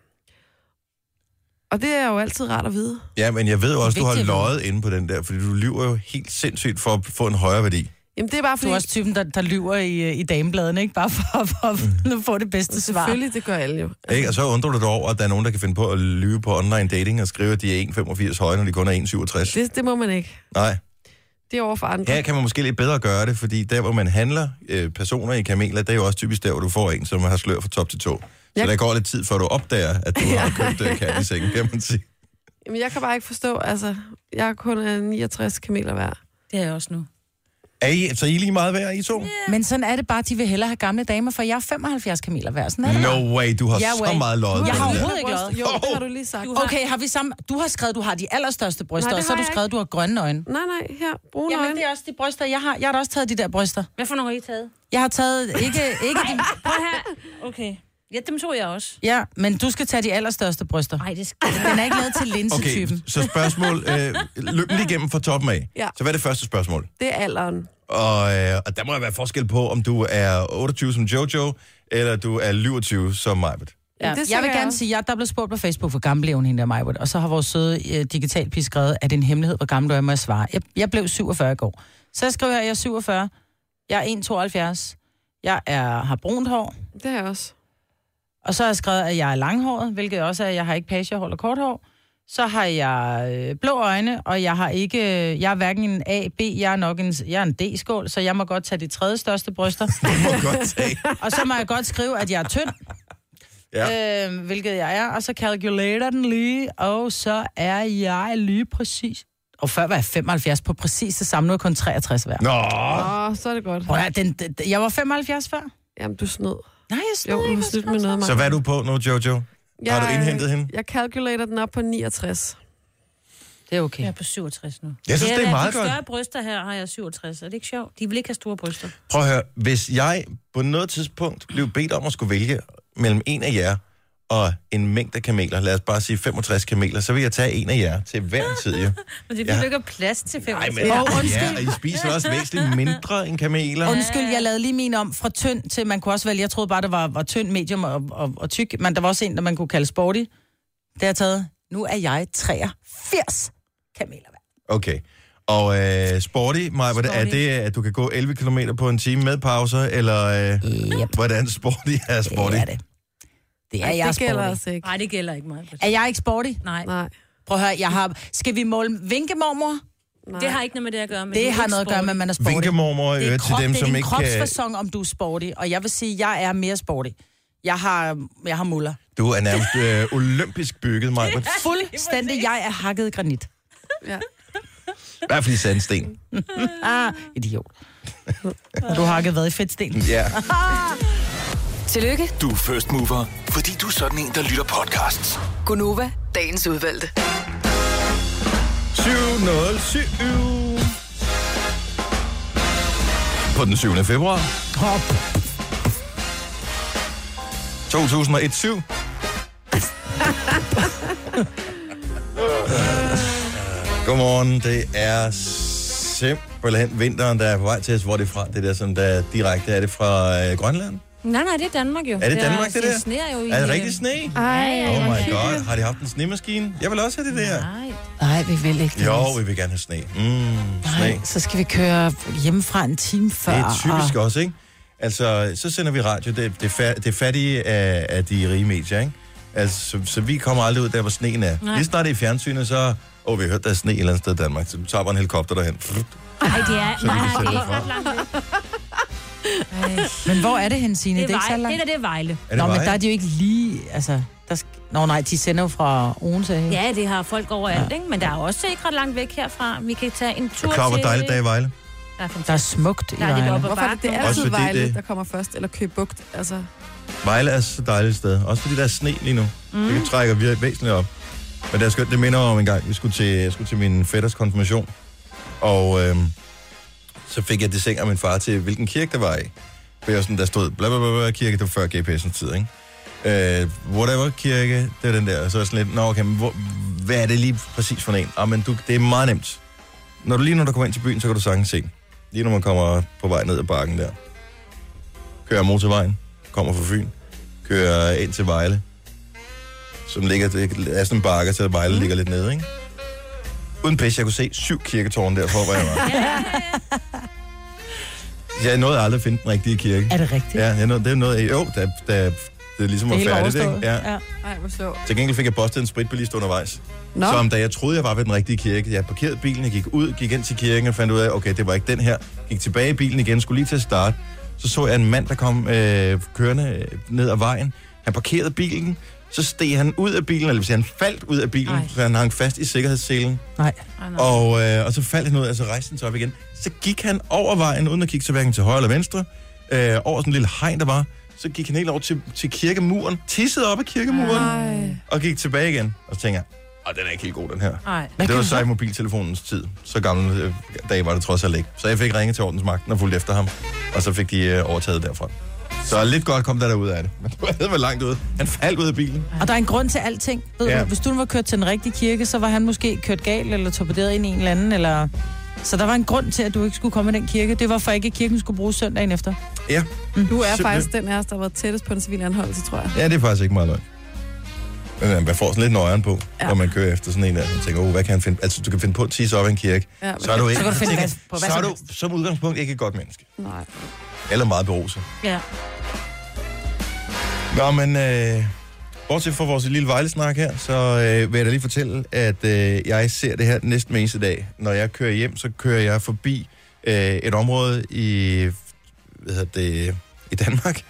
Speaker 4: Og det er jo altid rart at vide.
Speaker 1: Ja, men jeg ved jo også, du har
Speaker 2: Vigtigt at vide.
Speaker 1: løjet inde på den der, fordi du lyver jo helt sindssygt for at få en højere værdi.
Speaker 4: Jamen, det er bare
Speaker 2: Du
Speaker 4: fordi...
Speaker 2: er også typen, der, der lyver i, øh, i damebladene, ikke? Bare for, for,
Speaker 1: Mm.
Speaker 2: for at få det bedste svar.
Speaker 4: Selvfølgelig, det gør alle jo.
Speaker 1: Ikke? Og så undrer du dig over, at der er nogen, der kan finde på at lyve på online dating og skrive, at de er 1,85 høje, når de kun er 1,67.
Speaker 4: Det, det må man ikke.
Speaker 1: Nej.
Speaker 4: Det er over for andre.
Speaker 1: Her kan man måske lidt bedre gøre det, fordi der, hvor man handler øh, personer i kameler, det er jo også typisk der, hvor du får en, som har slør fra top til tå. Så
Speaker 4: Jeg-
Speaker 1: der går lidt tid, før du opdager, at du har købt øh, kat i sengen, kan man sige.
Speaker 4: Jamen, jeg kan bare ikke forstå, altså, jeg er kun øh, 69 kameler værd.
Speaker 3: Det er jeg også nu.
Speaker 1: Er I, så I er lige meget værd, I to?
Speaker 2: Men sådan er det bare, de vil hellere have gamle damer, for jeg er 75 kameler hver. Sådan er det. bare.
Speaker 1: No way, du har
Speaker 2: Ja,
Speaker 1: så
Speaker 2: way.
Speaker 1: meget løjet.
Speaker 2: Jeg
Speaker 1: på
Speaker 2: har
Speaker 1: den der.
Speaker 2: overhovedet ikke løjet.
Speaker 4: Jo, det har du lige sagt. Okay.
Speaker 2: Okay, har vi sammen... Du har skrevet, du har de allerstørste bryster,
Speaker 4: Nej,
Speaker 2: Nej,
Speaker 4: det
Speaker 2: og så har
Speaker 4: har
Speaker 2: du
Speaker 4: jeg
Speaker 2: skrevet, du har grønne øjne.
Speaker 4: Nej, nej, her. Brune
Speaker 2: Jamen,
Speaker 4: øjne.
Speaker 2: det er også de bryster, jeg har. Jeg har da også taget de der bryster.
Speaker 3: Hvad for nogle har I taget?
Speaker 2: Jeg har taget ikke, ikke de...
Speaker 3: Prøv her. Okay. Ja, dem tog jeg også.
Speaker 2: Ja, men du skal tage de allerstørste bryster.
Speaker 3: Nej, det skal
Speaker 2: Den er ikke lavet til
Speaker 1: Okay,
Speaker 2: linsetypen.
Speaker 1: så spørgsmål. Øh, løb lige igennem fra toppen af.
Speaker 4: Ja.
Speaker 1: Så hvad er det første spørgsmål?
Speaker 4: Det er alderen.
Speaker 1: Og, øh, og der må være forskel på, om du er 28 som Jojo, eller du er 27 som Majbet.
Speaker 2: Ja.
Speaker 4: det
Speaker 2: jeg
Speaker 4: tænker
Speaker 2: vil
Speaker 4: jeg
Speaker 2: gerne
Speaker 4: også.
Speaker 2: sige, at der blev spurgt på Facebook, hvor gammel blev hun hende der, Majwood. Og så har vores søde øh, digitalpige skrevet, at det er en hemmelighed, hvor gammel du er, må jeg svare. Jeg, jeg blev 47 i går. Så skriver jeg, at jeg er 47. Jeg er 1,72. Jeg er, har brunt hår.
Speaker 4: Det er jeg også.
Speaker 2: Og så har jeg skrevet, at jeg er langhåret, hvilket også er, at jeg har ikke page, jeg holder kort hår. Så har jeg øh, blå øjne, og jeg har ikke, øh, jeg er hverken en A, B, jeg er nok en, jeg er en D-skål, så jeg må godt tage de tredje største bryster.
Speaker 1: Du må godt tage.
Speaker 2: og så må jeg godt skrive, at jeg er tynd,
Speaker 1: Ja.
Speaker 2: øh, hvilket jeg er, og så calculator den lige, og så er jeg lige præcis. Og før var jeg 75 på præcis det samme, nu er jeg kun 63 hver.
Speaker 1: Nå,
Speaker 4: Åh, oh, så er det godt.
Speaker 2: Prøv at, høre, den, den, den- jeg var 75 før.
Speaker 4: Jamen, du snød.
Speaker 2: Nej, jeg stod
Speaker 4: Jo,
Speaker 2: ikke.
Speaker 4: du snød med noget, Maja.
Speaker 1: så hvad er du på nu, Jojo?
Speaker 4: Jeg,
Speaker 1: Har du indhentet hende?
Speaker 4: Jeg calculator den op på 69.
Speaker 2: Det er okay.
Speaker 3: jeg er på 67 nu.
Speaker 1: Jeg synes, det er
Speaker 3: der
Speaker 1: meget
Speaker 3: de
Speaker 1: godt.
Speaker 3: større bryster her har jeg 67. Er det ikke sjovt? De vil ikke have store bryster.
Speaker 1: Prøv at høre, hvis jeg på noget tidspunkt blev bedt om at skulle vælge mellem en af jer og en mængde kameler, lad os bare sige 65 kameler, så vil jeg tage en af jer til hver en tid, jo.
Speaker 3: Men det
Speaker 1: Ja.
Speaker 3: er ja. ikke plads til 65.
Speaker 1: Ej, men ja, og I spiser også væsentligt mindre end kameler.
Speaker 2: Undskyld, jeg lavede lige min om fra tynd til, man kunne også vælge, jeg troede bare, der var, var tynd, medium og, og, og tyk, men der var også en, der man kunne kalde sporty. Det har jeg taget. Nu er jeg 83 kameler.
Speaker 1: Okay. Og øh, sporty, Maja, hvordan er
Speaker 3: Sporty.
Speaker 1: det, at du kan gå 11 km på en time med pauser, eller øh,
Speaker 2: Yep.
Speaker 1: hvordan sporty er sporty?
Speaker 2: Det er det. Det er
Speaker 4: Ej,
Speaker 2: jeg
Speaker 4: det gælder
Speaker 2: sporty.
Speaker 4: altså ikke.
Speaker 3: Nej, det gælder ikke mig.
Speaker 2: Er jeg ikke sporty?
Speaker 3: Nej,
Speaker 4: Nej.
Speaker 2: Prøv at høre, jeg har... Skal vi måle vinkemormor?
Speaker 4: Nej.
Speaker 3: det har ikke noget med det at gøre. Men
Speaker 2: Det har noget at gøre med, at man er sporty.
Speaker 1: Vinkemormor i
Speaker 2: det er,
Speaker 1: øvrigt til
Speaker 2: krop,
Speaker 1: dem,
Speaker 2: det er
Speaker 1: som
Speaker 2: din
Speaker 1: ikke øh, kan...
Speaker 2: kropsfasong, om du er sporty. Og jeg vil sige, at jeg er mere sporty. Jeg har, jeg har muller.
Speaker 1: Du er nærmest øh, olympisk bygget, Maja. I
Speaker 2: Fuldstændig, jeg er hakket i granit.
Speaker 4: Ja.
Speaker 1: hvert fald i sandsten.
Speaker 2: Ah, idiot. Og du har ikke været i fedtstenen.
Speaker 1: Ja.
Speaker 6: Tillykke,
Speaker 5: Du er first mover, fordi du er sådan en, der lytter podcasts.
Speaker 6: Gunova, dagens udvalgte.
Speaker 1: 707. På den 7. februar. Hop. 2001 7. Godmorgen, det er simpelthen vinteren, der er på vej til os. Hvor er det fra? Det der, som der er direkte er det fra øh, Grønland?
Speaker 3: Nej, nej, det er Danmark jo.
Speaker 1: Er det Danmark, det der?
Speaker 3: Det sneer jo i...
Speaker 1: Er det rigtig sne?
Speaker 4: Ej,
Speaker 1: Oh my god, har de haft en snemaskine? Jeg vil også have det der.
Speaker 3: Nej.
Speaker 2: Nej, vi vil ikke.
Speaker 1: Jo,
Speaker 2: Dennis.
Speaker 1: vi vil gerne have sne. Mm, sne.
Speaker 2: Nej, så skal vi køre hjemmefra en time før.
Speaker 1: Det er typisk
Speaker 2: og-
Speaker 1: også, ikke? Altså, så sender vi radio. Det, det, fa- det er fattige af, af de rige medier, ikke? Altså, så, så vi kommer aldrig ud der, hvor sneen er. Nej. Lige snart det er i fjernsynet, så... Åh, oh, vi har hørt, der er sne et eller andet sted i Danmark. Så tager bare en helikopter derhen.
Speaker 3: Nej, det er...
Speaker 1: Så
Speaker 3: Nej,
Speaker 1: kan vi
Speaker 3: det
Speaker 1: sende
Speaker 3: er
Speaker 1: fra.
Speaker 3: ret langt. væk.
Speaker 2: Men hvor er det hen, Signe?
Speaker 3: Det
Speaker 2: Det er,
Speaker 3: er
Speaker 2: ikke så
Speaker 3: Vejle.
Speaker 2: langt.
Speaker 3: Det der, det er Vejle.
Speaker 1: Er det
Speaker 2: Nå, men
Speaker 1: veje?
Speaker 2: der er de jo ikke lige, altså... Der sk- Nå nej, de sender jo fra Odense. Ja.
Speaker 3: Ja, det har folk overalt, ikke? Men der er også ikke ret langt væk herfra. Vi kan tage en tur
Speaker 1: Klar, hvor
Speaker 3: til...
Speaker 1: dejligt dag i Vejle.
Speaker 3: Der er
Speaker 2: Der er
Speaker 3: fantastisk.
Speaker 2: smukt i
Speaker 3: Der er lidt
Speaker 2: Vejle.
Speaker 3: op ad
Speaker 4: Hvorfor er det, det er
Speaker 3: bakken.
Speaker 1: Også
Speaker 4: altid
Speaker 1: fordi
Speaker 4: Vejle,
Speaker 1: det-
Speaker 4: der kommer først? Eller Køge Bugt, altså.
Speaker 1: Vejle er så dejligt et sted. Også fordi der er sne lige nu. Mm. Det trækker vi væsentligt op. Men det er skønt, det minder om en gang, vi skulle til, jeg skulle til min fætters konfirmation. Og øhm, så fik jeg det seng af min far til, hvilken kirke det var i. For jeg var sådan, der stod bla bla bla, bla kirke, det var før GPS'ens tid, ikke? Øh, whatever kirke, det er den der. Og så er jeg sådan lidt, nå okay, men hvor, hvad er det lige præcis for en? Ah, men du, det er meget nemt. Når du lige når du kommer ind til byen, så kan du sagtens se. den. Lige når man kommer på vej ned ad bakken der. Kører motorvejen, kommer fra Fyn kører ind til Vejle, som ligger, det er sådan en bakke, så Vejle ligger lidt nede, ikke? Uden pisse, jeg kunne se syv kirketårne der hvor jeg var. Jeg nåede aldrig at finde den rigtige kirke.
Speaker 2: Er det rigtigt?
Speaker 1: Ja, jeg nåede, det er noget, jo, da, da det ligesom var
Speaker 2: Det hele
Speaker 1: færdigt,
Speaker 2: overstået.
Speaker 1: ikke? Ja.
Speaker 2: ja.
Speaker 4: Ej, hvor sjovt.
Speaker 1: Til gengæld fik jeg postet en spritbilist undervejs.
Speaker 4: Nå,
Speaker 1: Så om da jeg troede, jeg var ved den rigtige kirke, jeg parkerede bilen, jeg gik ud, gik ind til kirken og fandt ud af, okay, det var ikke den her. Gik tilbage i bilen igen, skulle lige til at starte. Så så jeg en mand, der kom øh, kørende øh, ned ad vejen. Han parkerede bilen, så steg han ud af bilen, eller hvis han faldt ud af bilen, Ej.
Speaker 3: Ej.
Speaker 1: så han hang fast i sikkerhedsselen.
Speaker 2: Nej.
Speaker 1: Og, øh, og så faldt han ud, og så rejste han sig op igen. Så gik han over vejen, uden at kigge til hverken til højre eller venstre, øh, over sådan en lille hegn, der var. Så gik han helt over til, til kirkemuren, tissede op af kirkemuren, Ej. og gik tilbage igen. Og så tænker jeg, "Åh, den er ikke helt god, den her.
Speaker 3: Nej.
Speaker 2: Hvad
Speaker 1: Det var
Speaker 2: kan
Speaker 1: så i mobiltelefonens tid. Så gammel øh, dag var det trods alt ikke. Så jeg fik ringet til ordensmagten og fulgt efter ham. Og så fik de øh, overtaget derfra. Så lidt godt kom der derud af det. Men du havde været langt ude. Han faldt ud af bilen.
Speaker 2: Og der er en grund til alting. Ved
Speaker 1: Ja.
Speaker 2: ja. du, hvis du nu var kørt til den rigtige kirke, så var han måske kørt galt eller torpederet ind i en eller anden. Eller... Så der var en grund til, at du ikke skulle komme i den kirke. Det var for ikke, at kirken skulle bruges søndagen efter. Mm.
Speaker 1: Ja.
Speaker 4: Du er
Speaker 1: Simpelthen.
Speaker 4: faktisk den af os, der har været tættest på en civil anholdelse, tror jeg.
Speaker 1: Ja, det er faktisk ikke meget løgn. Men øh, man får sådan lidt nøjeren på, ja.
Speaker 4: Ja.
Speaker 1: når man kører efter sådan en der. Man tænker, oh, hvad kan han finde? Altså, du kan finde på at tisse op i en kirke.
Speaker 4: Ja, men-
Speaker 1: så er du, ikke,
Speaker 2: Så kan du finde
Speaker 1: tænker,
Speaker 2: gas på hvad
Speaker 1: så
Speaker 2: som
Speaker 1: er du
Speaker 2: helst.
Speaker 1: som udgangspunkt ikke et godt menneske.
Speaker 4: Nej.
Speaker 1: Eller meget beruset.
Speaker 3: Ja.
Speaker 1: Nå, men øh, bortset fra vores lille vejlesnak her, så øh, vil jeg da lige fortælle, at øh, jeg ser det her næsten hver eneste dag. Når jeg kører hjem, så kører jeg forbi øh, et område i, hvad hedder det, i Danmark,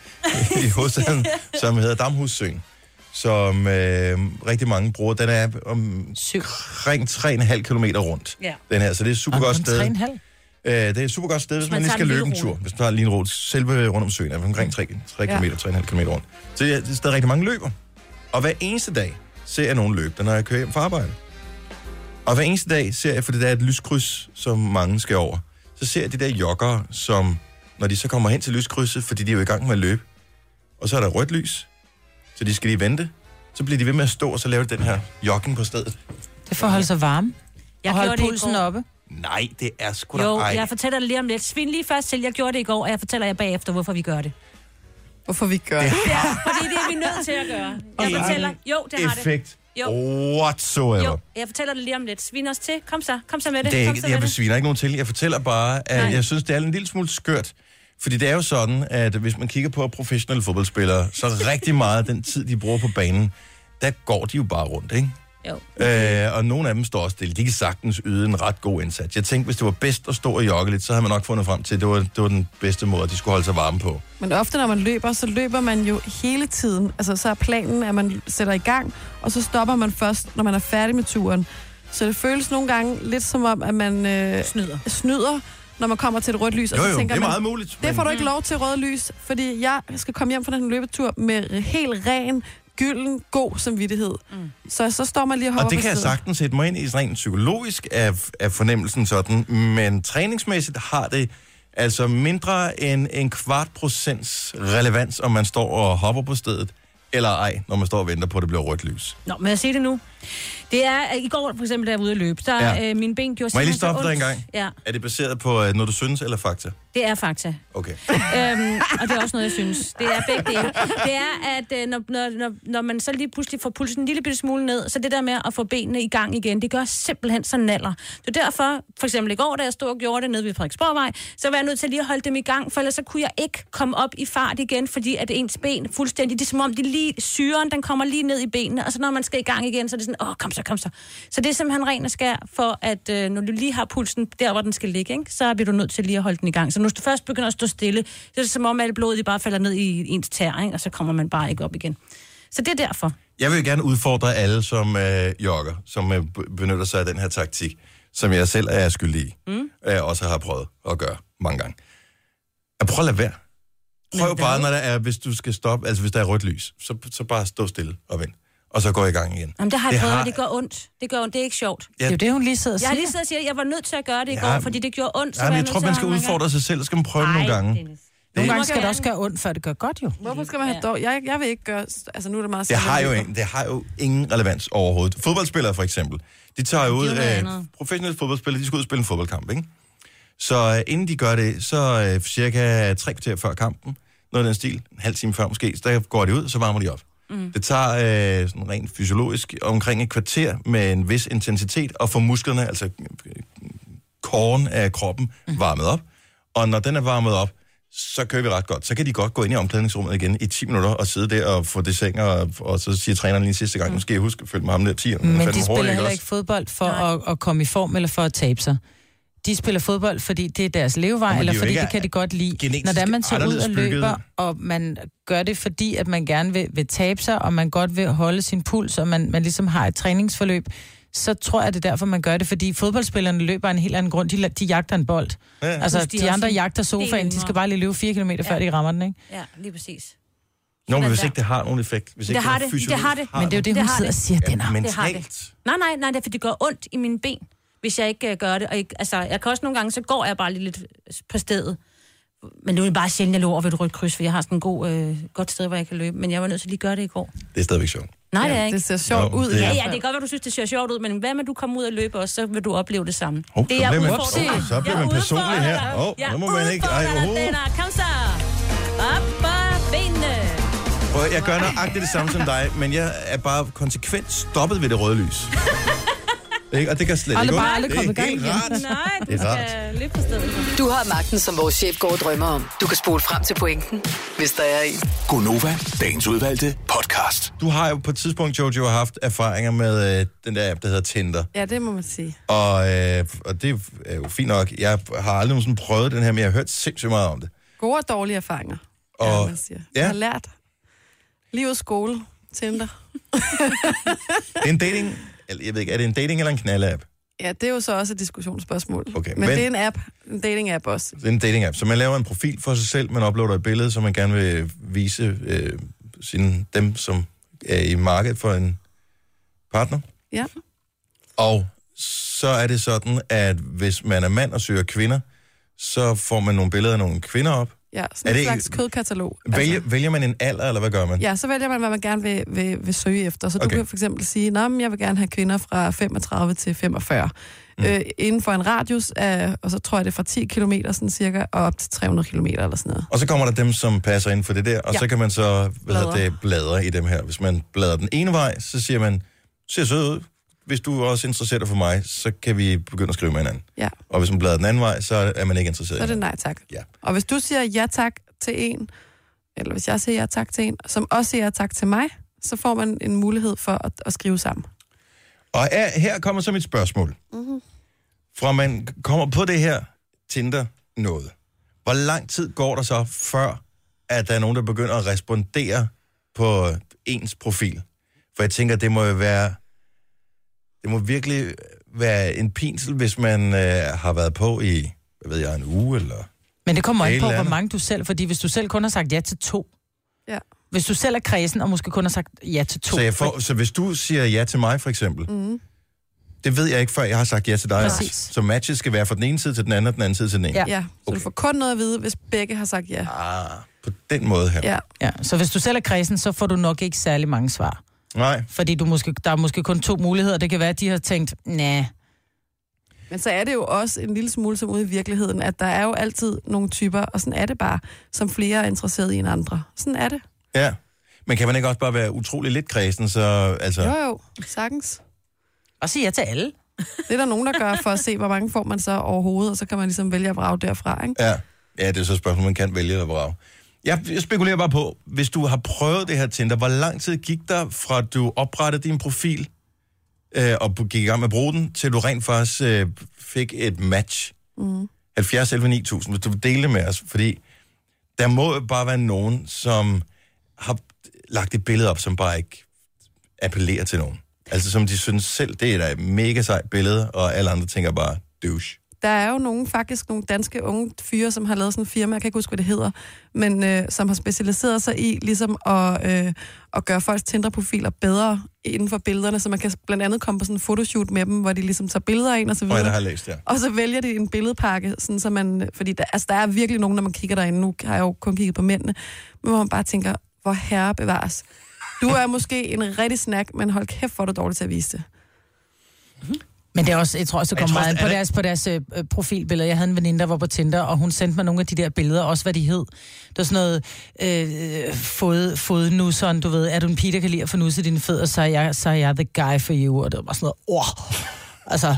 Speaker 1: i hovedstaden, som hedder Damhussøen, som øh, rigtig mange bruger. Den er
Speaker 2: Syv.
Speaker 1: omkring 3,5 km rundt,
Speaker 3: Ja.
Speaker 1: den her, så det er et super godt
Speaker 2: Kun tre
Speaker 1: sted.
Speaker 2: og en halv.
Speaker 1: Øh, det er et super godt sted, hvis
Speaker 3: Hvis man
Speaker 1: man, lige
Speaker 3: tager
Speaker 1: skal
Speaker 3: en
Speaker 1: løbe
Speaker 3: lille
Speaker 1: en tur.
Speaker 3: rute.
Speaker 1: Hvis man tager lige en rundt, selve rundt om søen, er omkring 3, 3 km,
Speaker 4: Ja.
Speaker 1: 3,5 km rundt. Så det er, det er stadig rigtig mange løber. Og hver eneste dag ser jeg nogen løbe, når jeg kører hjem fra arbejde. Og hver eneste dag ser jeg, for det er et lyskryds, som mange skal over, så ser jeg de der joggere, som når de så kommer hen til lyskrydset, fordi de er jo i gang med at løbe, og så er der rødt lys, så de skal lige vente, så bliver de ved med at stå, og så laver de den her jogging på stedet.
Speaker 2: Det får holde sig varme.
Speaker 3: Jeg
Speaker 2: og holde
Speaker 3: gjorde det i
Speaker 2: pulsen
Speaker 3: går.
Speaker 2: oppe.
Speaker 1: Nej, det er sgu da
Speaker 3: Jo,
Speaker 1: ej.
Speaker 3: jeg fortæller det lige om lidt. Svind lige først til, jeg gjorde det i går, og jeg fortæller jer bagefter, hvorfor vi gør det.
Speaker 4: Hvorfor vi gør det?
Speaker 3: Fordi det er vi nødt til at gøre.
Speaker 1: Ingen
Speaker 3: Jeg fortæller, jo, det har det.
Speaker 1: effekt Oh.
Speaker 3: Jo.
Speaker 1: whatsoever.
Speaker 3: Jo, jeg fortæller det lige om lidt. Svin os til. Kom så, kom så med det.
Speaker 1: Det er
Speaker 3: Kom
Speaker 1: ikke,
Speaker 3: så
Speaker 1: jeg
Speaker 3: med det.
Speaker 1: besviner ikke nogen til. Jeg fortæller bare, at Nej.
Speaker 3: Nej.
Speaker 1: jeg synes, det er en lille smule skørt. Fordi det er jo sådan, at hvis man kigger på professionelle fodboldspillere, så rigtig meget af den tid, de bruger på banen, der går de jo bare rundt, ikke?
Speaker 3: Jo.
Speaker 1: Øh, og nogle af dem står stille. De kan sagtens yde en ret god indsats. Jeg tænkte, hvis det var bedst at stå og jogge lidt, så havde man nok fundet frem til, at det var, det var den bedste måde, at de skulle holde sig varme på.
Speaker 4: Men ofte, når man løber, så løber man jo hele tiden. Altså, så er planen, at man sætter i gang, og så stopper man først, når man er færdig med turen. Så det føles nogle gange lidt som om, at man øh,
Speaker 3: Snyder.
Speaker 4: snyder, når man kommer til et rødt lys.
Speaker 1: Jo,
Speaker 4: og så
Speaker 1: jo, det
Speaker 4: tænker
Speaker 1: er
Speaker 4: man,
Speaker 1: meget muligt.
Speaker 4: Det får du ikke lov til, rødt lys, fordi jeg skal komme hjem fra den her løbetur med helt ren, gylden, god samvittighed. Mm. Så så står man lige og hopper
Speaker 1: Og det
Speaker 4: på
Speaker 1: kan jeg
Speaker 4: siden.
Speaker 1: sagtens sætte mig ind i rent psykologisk af, af fornemmelsen sådan, men træningsmæssigt har det altså mindre end en kvart procents relevans, om man står og hopper på stedet, eller ej, når man står og venter på, at det bliver rødt lys.
Speaker 3: Nå, må jeg sige det nu? Det er, at i går for eksempel, da jeg var ude at løbe, der
Speaker 1: Ja.
Speaker 3: ja. øh, mine ben gjorde
Speaker 1: Må jeg
Speaker 3: simpelthen
Speaker 1: lige
Speaker 3: så
Speaker 1: stoppe dig en
Speaker 3: ondt.
Speaker 1: gang?
Speaker 3: Ja,
Speaker 1: Er det baseret på, øh, når du synes, eller fakta?
Speaker 3: det er fakta.
Speaker 1: Okay.
Speaker 3: øhm, og det er også noget, jeg synes. Det er begge dele. Det er, at øh, når, når, når, når man så lige pludselig får pulsen en lille bitte smule ned, så det der med at få benene i gang igen, det gør simpelthen så naller. Så derfor, for eksempel i går, da jeg stod og gjorde det nede ved Frederiksborgvej, så var jeg nødt til lige at holde dem i gang, for ellers så kunne jeg ikke komme op i fart igen, fordi at ens ben fuldstændig, det er som om de lige, syren, den kommer lige ned i benene, og så når man skal i gang igen, så er det sådan, åh, kom så, kom så. Så det er simpelthen ren og skær for, at øh, når du lige har pulsen der, hvor den skal ligge, ikke, så bliver du nødt til lige at holde den i gang. Så når du først begynder at stå stille, så er det som om, at blodet bare falder ned i ens tær, ikke, og så kommer man bare ikke op igen. Så det er derfor.
Speaker 1: Jeg vil gerne udfordre alle, som øh, jogger, som øh, b- benytter sig af den her taktik, som jeg selv er skyldig i, mm. øh, også har prøvet at gøre mange gange. At prøv at lade være. Prøv
Speaker 3: Men
Speaker 1: bare,
Speaker 3: hvad?
Speaker 1: når der er, hvis du skal stoppe, altså hvis der er rødt lys, så, så bare stå stille og vent. Og så går jeg i gang igen.
Speaker 3: Jamen, det har jeg det prøvet,
Speaker 1: Det har-
Speaker 3: har... og det gør ondt. Det gør ondt, det er ikke sjovt.
Speaker 2: Det er jo det, hun lige sidder og
Speaker 3: Jeg
Speaker 2: siger.
Speaker 3: har lige siddet og siger, at jeg var nødt til at gøre det i
Speaker 1: Ja,
Speaker 3: går, fordi det gjorde ondt.
Speaker 1: Ja, men
Speaker 3: var
Speaker 1: jeg
Speaker 3: nødt
Speaker 1: tror,
Speaker 3: til
Speaker 1: man
Speaker 3: at
Speaker 1: skal
Speaker 3: gøre det.
Speaker 1: udfordre sig selv, så skal man prøve Ej, nogle
Speaker 3: Ej,
Speaker 1: gange.
Speaker 3: Dennis.
Speaker 2: Nogle
Speaker 1: Det-
Speaker 2: gange skal det også gøre ondt, før det gør godt jo.
Speaker 4: Hvorfor skal man have dog? Jeg, jeg vil ikke gøre... Altså, nu er det meget
Speaker 1: Det
Speaker 4: sent,
Speaker 1: har,
Speaker 4: jeg
Speaker 1: jo
Speaker 4: løber.
Speaker 1: en, det har jo ingen relevans overhovedet. Fodboldspillere for eksempel, de tager jo ud,
Speaker 3: noget
Speaker 1: øh,
Speaker 3: andet.
Speaker 1: professionelle fodboldspillere, de skal ud og spille en fodboldkamp, ikke? Så øh, inden de gør det, så øh, cirka tre kvarter før kampen, noget af den stil, en halv time før måske, så der går de ud, så varmer de op. Mm. Det tager øh, sådan rent fysiologisk omkring et kvarter med en vis intensitet at få musklerne, altså korn af kroppen,
Speaker 2: Mhm.
Speaker 1: varmet op. Og når den er varmet op, så kører vi ret godt. Så kan de godt gå ind i omklædningsrummet igen i 10 minutter og sidde der og få det seng, og, og så siger træneren lige sidste gang, nu skal jeg huske at følge med ham der 10.
Speaker 2: Men de spiller heller ikke fodbold for at, at komme i form eller for at tabe sig. De spiller fodbold, fordi det er deres
Speaker 1: Og
Speaker 2: levevej,
Speaker 1: men
Speaker 2: eller
Speaker 1: de er jo
Speaker 2: fordi
Speaker 1: ikke
Speaker 2: det kan de godt lide.
Speaker 1: genetisk
Speaker 2: Når der man så ud
Speaker 1: anderledes
Speaker 2: og løber,
Speaker 1: bygget.
Speaker 2: og man gør det, fordi at man gerne vil, vil tabe sig, og man godt vil holde sin puls, og man, man ligesom har et træningsforløb, så tror jeg, det er derfor, man gør det. Fordi fodboldspillerne løber af en helt anden grund. De, la- de jagter en bold. Ja. Altså,
Speaker 3: Plus, de er
Speaker 2: de
Speaker 3: også
Speaker 2: andre
Speaker 3: en
Speaker 2: jagter sofaen.
Speaker 3: del
Speaker 2: De skal
Speaker 3: yngre.
Speaker 2: bare lige løbe fire kilometer, før
Speaker 3: Ja.
Speaker 2: de rammer den, ikke?
Speaker 3: Ja, lige præcis.
Speaker 1: Nå, men
Speaker 3: sådan
Speaker 1: hvis
Speaker 3: der.
Speaker 1: ikke det har nogen effekt. Hvis ikke
Speaker 3: har
Speaker 1: er
Speaker 3: det, det
Speaker 1: fysiologisk,
Speaker 3: har det.
Speaker 2: Men det er jo det, hun
Speaker 3: Det har
Speaker 2: sidder og
Speaker 3: det.
Speaker 2: siger, den
Speaker 1: Ja,
Speaker 2: har.
Speaker 3: Det har det.
Speaker 1: mentalt.
Speaker 3: Nej, nej, nej, det er, fordi det gør ondt i mine øh, ben, hvis jeg ikke uh, gør det. Og ikke, altså, jeg kan også nogle gange, så går jeg bare lige lidt på øh, stedet. Men nu er det bare sjældent, jeg lå over ved et rødt kryds, for jeg har sådan en god, øh, godt sted, hvor jeg kan løbe. Men jeg var nødt til at lige gøre det i går.
Speaker 1: Det er stadigvæk sjovt.
Speaker 3: Nej, det er
Speaker 4: Ja,
Speaker 3: ikke.
Speaker 4: det ser sjovt
Speaker 1: Nå,
Speaker 4: ud.
Speaker 1: det-
Speaker 4: i
Speaker 3: Ja,
Speaker 4: hvert
Speaker 3: ja,
Speaker 4: fald.
Speaker 3: det kan godt være, du synes, det ser sjovt ud, men hvad med, du kommer ud og løber, og så vil du opleve det samme.
Speaker 1: Hov,
Speaker 3: det
Speaker 1: så bliver man-
Speaker 3: udfordrende.
Speaker 1: hov, så bliver
Speaker 3: Jeg er
Speaker 1: man personlig
Speaker 3: udfordrer
Speaker 1: her.
Speaker 3: dig.
Speaker 1: Hov,
Speaker 3: Jeg
Speaker 1: nu må man ikke- Ej,
Speaker 3: udfordrer dig,
Speaker 1: hov.
Speaker 3: Denner. Kom så! Op på benene!
Speaker 1: Og jeg gør nøjagtigt det samme som dig, men jeg er bare konsekvent stoppet ved det røde lys. Ikke? Og det kan slet
Speaker 2: Aldrig
Speaker 1: ikke
Speaker 2: bare
Speaker 1: ondt.
Speaker 2: aldrig
Speaker 1: Det er
Speaker 2: kommet i gang
Speaker 1: helt
Speaker 2: igen.
Speaker 1: rart.
Speaker 3: Nej,
Speaker 1: Det er
Speaker 3: du skal
Speaker 1: rart.
Speaker 3: løbe på stedet.
Speaker 6: Du har magten, som vores chef går og drømmer om. Du kan spole frem til pointen, hvis der er en.
Speaker 5: Gonova, dagens udvalgte podcast.
Speaker 1: Du har jo på et tidspunkt, Jojo, haft erfaringer med øh, den der app, der hedder Tinder.
Speaker 4: Ja, det må man sige.
Speaker 1: Og, øh, og det er jo fint nok. Jeg har aldrig nogensinde prøvet den her, men jeg har hørt sindssygt meget om det.
Speaker 4: Gode og dårlige erfaringer, og,
Speaker 1: Og-
Speaker 4: ja, man siger.
Speaker 1: ja.
Speaker 4: Ja. Jeg har lært. Livets skole, Tinder.
Speaker 1: Det er en dating... Eller, jeg ved ikke, er det en dating eller en knald-app?
Speaker 4: Ja, det er jo så også et diskussionsspørgsmål.
Speaker 1: Okay,
Speaker 4: men,
Speaker 1: men-
Speaker 4: men det er en app, en dating-app også.
Speaker 1: Det er en dating-app. Så man laver en profil for sig selv, man uploader et billede, som man gerne vil vise øh, sine, dem, som er i markedet for en partner.
Speaker 4: Ja.
Speaker 1: Og så er det sådan, at hvis man er mand og søger kvinder, så får man nogle billeder af nogle kvinder op.
Speaker 4: Ja,
Speaker 1: Er
Speaker 4: sådan
Speaker 1: det
Speaker 4: en det...
Speaker 1: ikke-
Speaker 4: slags kødkatalog.
Speaker 1: Vælger, altså. vælger man en alder, eller hvad gør man?
Speaker 4: Ja, så vælger man, hvad man gerne vil, vil, vil søge efter. Så okay.
Speaker 1: Okay.
Speaker 4: du kan for eksempel sige, at jeg vil gerne have kvinder fra 35 til 45. Mm. Øh, inden for en radius af, og så tror jeg det er fra 10 km sådan cirka, og op til 300 km eller sådan noget.
Speaker 1: Og så kommer der dem, som passer ind for det der, og ja.
Speaker 4: Ja.
Speaker 1: så kan man så hvad hedder
Speaker 4: Bladre.
Speaker 1: det, bladre i dem her. Hvis man bladrer den ene vej, så siger man, ser sød ud. Hvis du også interesserer dig for mig, så kan vi begynde at skrive med hinanden.
Speaker 4: Ja,
Speaker 1: Og hvis man bladrer den anden vej, så er man ikke interesseret.
Speaker 4: så er
Speaker 1: i
Speaker 4: det
Speaker 1: hinanden.
Speaker 4: nej tak.
Speaker 1: Ja.
Speaker 4: Og hvis du siger ja tak til en, eller hvis jeg siger ja tak til en, som også siger ja tak til mig, så får man en mulighed for at, at skrive sammen.
Speaker 1: Og er, her kommer så mit spørgsmål. Mm-hmm. Fra man kommer på det her Tinder noget. Hvor lang tid går der så, før at der er nogen, der begynder at respondere på ens profil? For jeg tænker, det må jo være... Det må virkelig være en pinsel, hvis man øh, har været på i, hvad ved jeg, en uge eller...
Speaker 2: Men det kommer
Speaker 1: Et
Speaker 2: ikke på,
Speaker 1: eller
Speaker 2: hvor
Speaker 1: andet.
Speaker 2: mange du selv... Fordi hvis du selv kun har sagt ja til to...
Speaker 4: Ja.
Speaker 2: Hvis du selv er kredsen, og måske kun har sagt ja til to...
Speaker 1: Så, jeg får, så hvis du siger ja til mig, for eksempel, mm.
Speaker 4: Mhm.
Speaker 1: det ved jeg ikke, før jeg har sagt ja til dig.
Speaker 2: Præcis.
Speaker 1: Så matchet skal være fra den ene side til den anden, og den anden side til den ene.
Speaker 2: Ja.
Speaker 4: Ja, ja. så
Speaker 1: Okay.
Speaker 4: du får kun noget at vide, hvis begge har sagt ja.
Speaker 1: Ah, på den måde her.
Speaker 4: Ja,
Speaker 2: Ja, så hvis du selv er kredsen, så får du nok ikke særlig mange svar.
Speaker 1: Nej.
Speaker 2: Fordi du måske, der er måske kun to muligheder. Det kan være, at de har tænkt, nej,
Speaker 4: men så er det jo også en lille smule som ude i virkeligheden, at der er jo altid nogle typer, og sådan er det bare, som flere er interesseret i end andre. Sådan er det.
Speaker 1: Ja. Men kan man ikke også bare være utrolig lidt kredsen, så altså...
Speaker 4: Jo jo, sagtens.
Speaker 2: og sig ja til alle.
Speaker 4: Det er der nogen, der gør for at se, hvor mange får man så overhovedet, og så kan man ligesom vælge at vrage derfra, ikke?
Speaker 1: Ja. ja, det er så et spørgsmål, man kan vælge eller vrage. Jeg jeg spekulerer bare på, hvis du har prøvet det her Tinder, hvor lang tid gik der fra du oprettede din profil øh, og gik i gang med at bruge den, til du rent faktisk øh, fik et match? Mm. 70 11 9000, hvis du vil dele det med os, fordi der må jo bare være nogen, som har lagt et billede op, som bare ikke appellerer til nogen. Altså som de synes selv, det er da et mega sejt billede, og alle andre tænker bare, douche.
Speaker 4: Der er jo nogen, faktisk nogle danske unge fyre, som har lavet sådan en firma, jeg kan ikke huske, hvad det hedder, men øh, som har specialiseret sig i ligesom at, øh, at gøre folks Tinder-profiler bedre inden for billederne, så man kan blandt andet komme på sådan en fotoshoot med dem, hvor de ligesom tager billeder af en og så
Speaker 1: Og
Speaker 4: videre.
Speaker 1: jeg har læst det.
Speaker 4: Og så vælger de en billedpakke, sådan så man, fordi der, altså der er virkelig nogen, når man kigger derinde, nu har jeg jo kun kigget på mændene, men hvor man bare tænker, hvor herre bevares. Du er måske en rigtig snack, men hold kæft, hvor er du dårlig til at vise det.
Speaker 2: Men det er også, jeg tror også, det
Speaker 1: Jeg
Speaker 2: kommer
Speaker 1: tror også,
Speaker 2: meget ind på
Speaker 1: det er
Speaker 2: deres, på deres øh, øh, profilbilleder. Jeg havde en veninde, der var på Tinder, og hun sendte mig nogle af de der billeder, også hvad de hed. Det var sådan noget øh, fod, fodnusseren, du ved, er du en pige, der kan lide at få nusset dine fødder, så er, jeg, så er jeg the guy for you, og det var bare sådan noget, oh. Altså,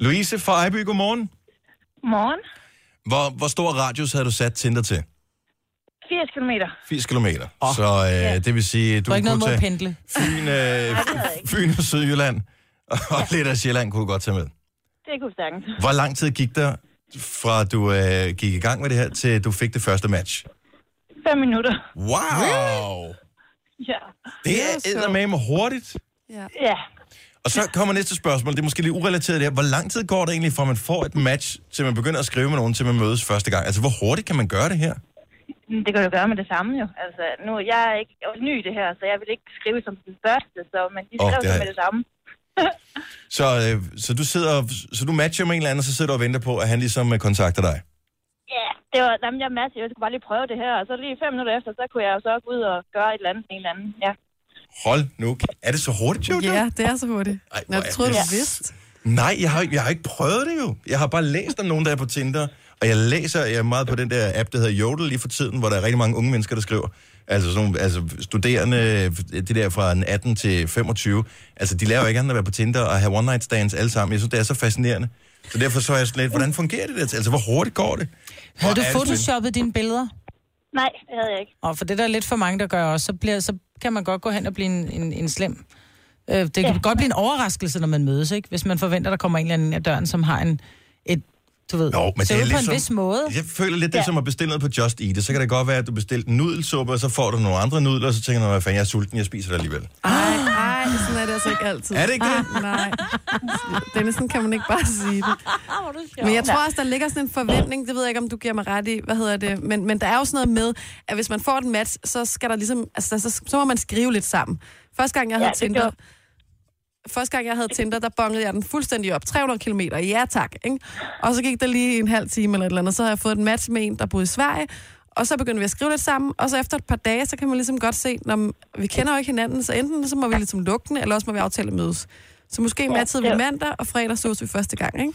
Speaker 1: Louise fra Ejby, godmorgen.
Speaker 7: Morgen.
Speaker 1: Hvor, hvor stor radius havde du sat Tinder til?
Speaker 7: 80 km.
Speaker 1: 80 km. Oh. Så øh, det vil sige, du
Speaker 2: der var ikke noget
Speaker 1: kunne
Speaker 2: mod at
Speaker 1: tage
Speaker 2: pendle.
Speaker 1: Fyn, øh, Fyn og Sydjylland, og ja. lidt af Sjælland kunne du godt tage med.
Speaker 7: Det kunne vi sagtens.
Speaker 1: Hvor lang tid gik der, fra du øh, gik i gang med det her, til du fik det første match?
Speaker 7: 5 minutter.
Speaker 1: Wow! Really?
Speaker 7: Ja.
Speaker 1: Det
Speaker 4: Det er så-
Speaker 1: er med hurtigt.
Speaker 4: Ja.
Speaker 7: Ja.
Speaker 1: Og så kommer næste spørgsmål, det er måske lidt urelateret der. Hvor lang tid går det egentlig, fra man får et match, til man begynder at skrive med nogen, til man mødes første gang? Altså, hvor hurtigt kan man gøre det her?
Speaker 7: Men Det kan du gøre med det samme jo. Altså, nu, jeg er ikke jeg er ny i det her, så jeg vil ikke skrive som den første, så men de
Speaker 1: Åh,
Speaker 7: skrev
Speaker 1: det
Speaker 7: oh,
Speaker 1: har
Speaker 7: det med
Speaker 1: jeg.
Speaker 7: det samme.
Speaker 1: Så, øh, så du sidder, og- så du matcher med en eller anden, og så sidder du og venter på, at han ligesom øh, kontakter dig.
Speaker 7: Ja, det var, jamen, jeg masse, jeg skulle bare lige prøve det her, og så lige fem minutter efter, så kunne jeg jo så gå ud og gøre et eller andet med en eller anden. Ja.
Speaker 1: Hold nu. kæ- Er det så hurtigt, Jojo?
Speaker 4: Ja, det er så hurtigt.
Speaker 1: Ej,
Speaker 4: Nå,
Speaker 1: hvor
Speaker 4: jeg
Speaker 1: er
Speaker 4: troede,
Speaker 1: det
Speaker 4: du
Speaker 1: s-
Speaker 4: vidste.
Speaker 1: Nej, jeg har, jeg har ikke prøvet det jo. Jeg har bare læst om nogen, der er på Tinder. Og jeg læser jeg er meget på den der app, der hedder Jodel lige for tiden, hvor der er rigtig mange unge mennesker, der skriver. Altså, sådan, nogle- altså studerende, det der fra en 18 til 25. Altså, de laver ikke andet end at være på Tinder og have one night stands alle sammen. Jeg synes, det er så fascinerende. Så derfor så er jeg sådan lidt, hvordan fungerer det der? Altså, hvor hurtigt går det? Hvor
Speaker 2: Havde du
Speaker 1: er det spændende.
Speaker 2: photoshoppet dine billeder?
Speaker 7: Nej, det havde jeg ikke.
Speaker 2: Og for det der er lidt for mange, der gør også, så, bliver, så kan man godt gå hen og blive en, en, en slem. Øh, det kan ja. godt blive en overraskelse, når man mødes, ikke? Hvis man forventer, der kommer en eller anden af døren, som har en, et, du ved,
Speaker 1: Jo, men
Speaker 2: ser
Speaker 1: det er
Speaker 2: ud på
Speaker 1: ligesom-
Speaker 2: en vis måde.
Speaker 1: Jeg føler lidt, det er som at bestille noget på Just Eat. Så kan det godt være, at du bestilte en nudelsuppe, og så får du nogle andre nudler, og så tænker du, hvad fanden, jeg er sulten, jeg spiser det alligevel.
Speaker 4: Ej, ej, sådan er det altså ikke altid.
Speaker 1: Ah.
Speaker 4: Ah,
Speaker 1: Er det ikke det?
Speaker 4: Nej. Dennis, sådan kan man ikke bare sige det. Men jeg tror også, der ligger sådan en forventning, det ved jeg ikke, om du giver mig ret i, hvad hedder det, men, men der er jo sådan noget med, at hvis man får et match, så skal der ligesom, altså så, så må man skrive lidt sammen. Første gang, jeg havde
Speaker 7: det
Speaker 4: Tinder,
Speaker 7: gjorde-
Speaker 4: Første gang, jeg havde Tinder, der bongede jeg den fuldstændig op. 300 km, ja tak. Ikke? Og så gik der lige en halv time eller et eller andet, så havde jeg fået et match med en, der boede i Sverige. Og så begyndte vi at skrive lidt sammen, og så efter et par dage, så kan man ligesom godt se, når vi kender jo ikke hinanden, så enten så må vi ligesom lukke den, eller også må vi aftale at mødes. Så måske ja, matchede vi
Speaker 7: det-
Speaker 4: mandag, og fredag sås vi første gang, ikke?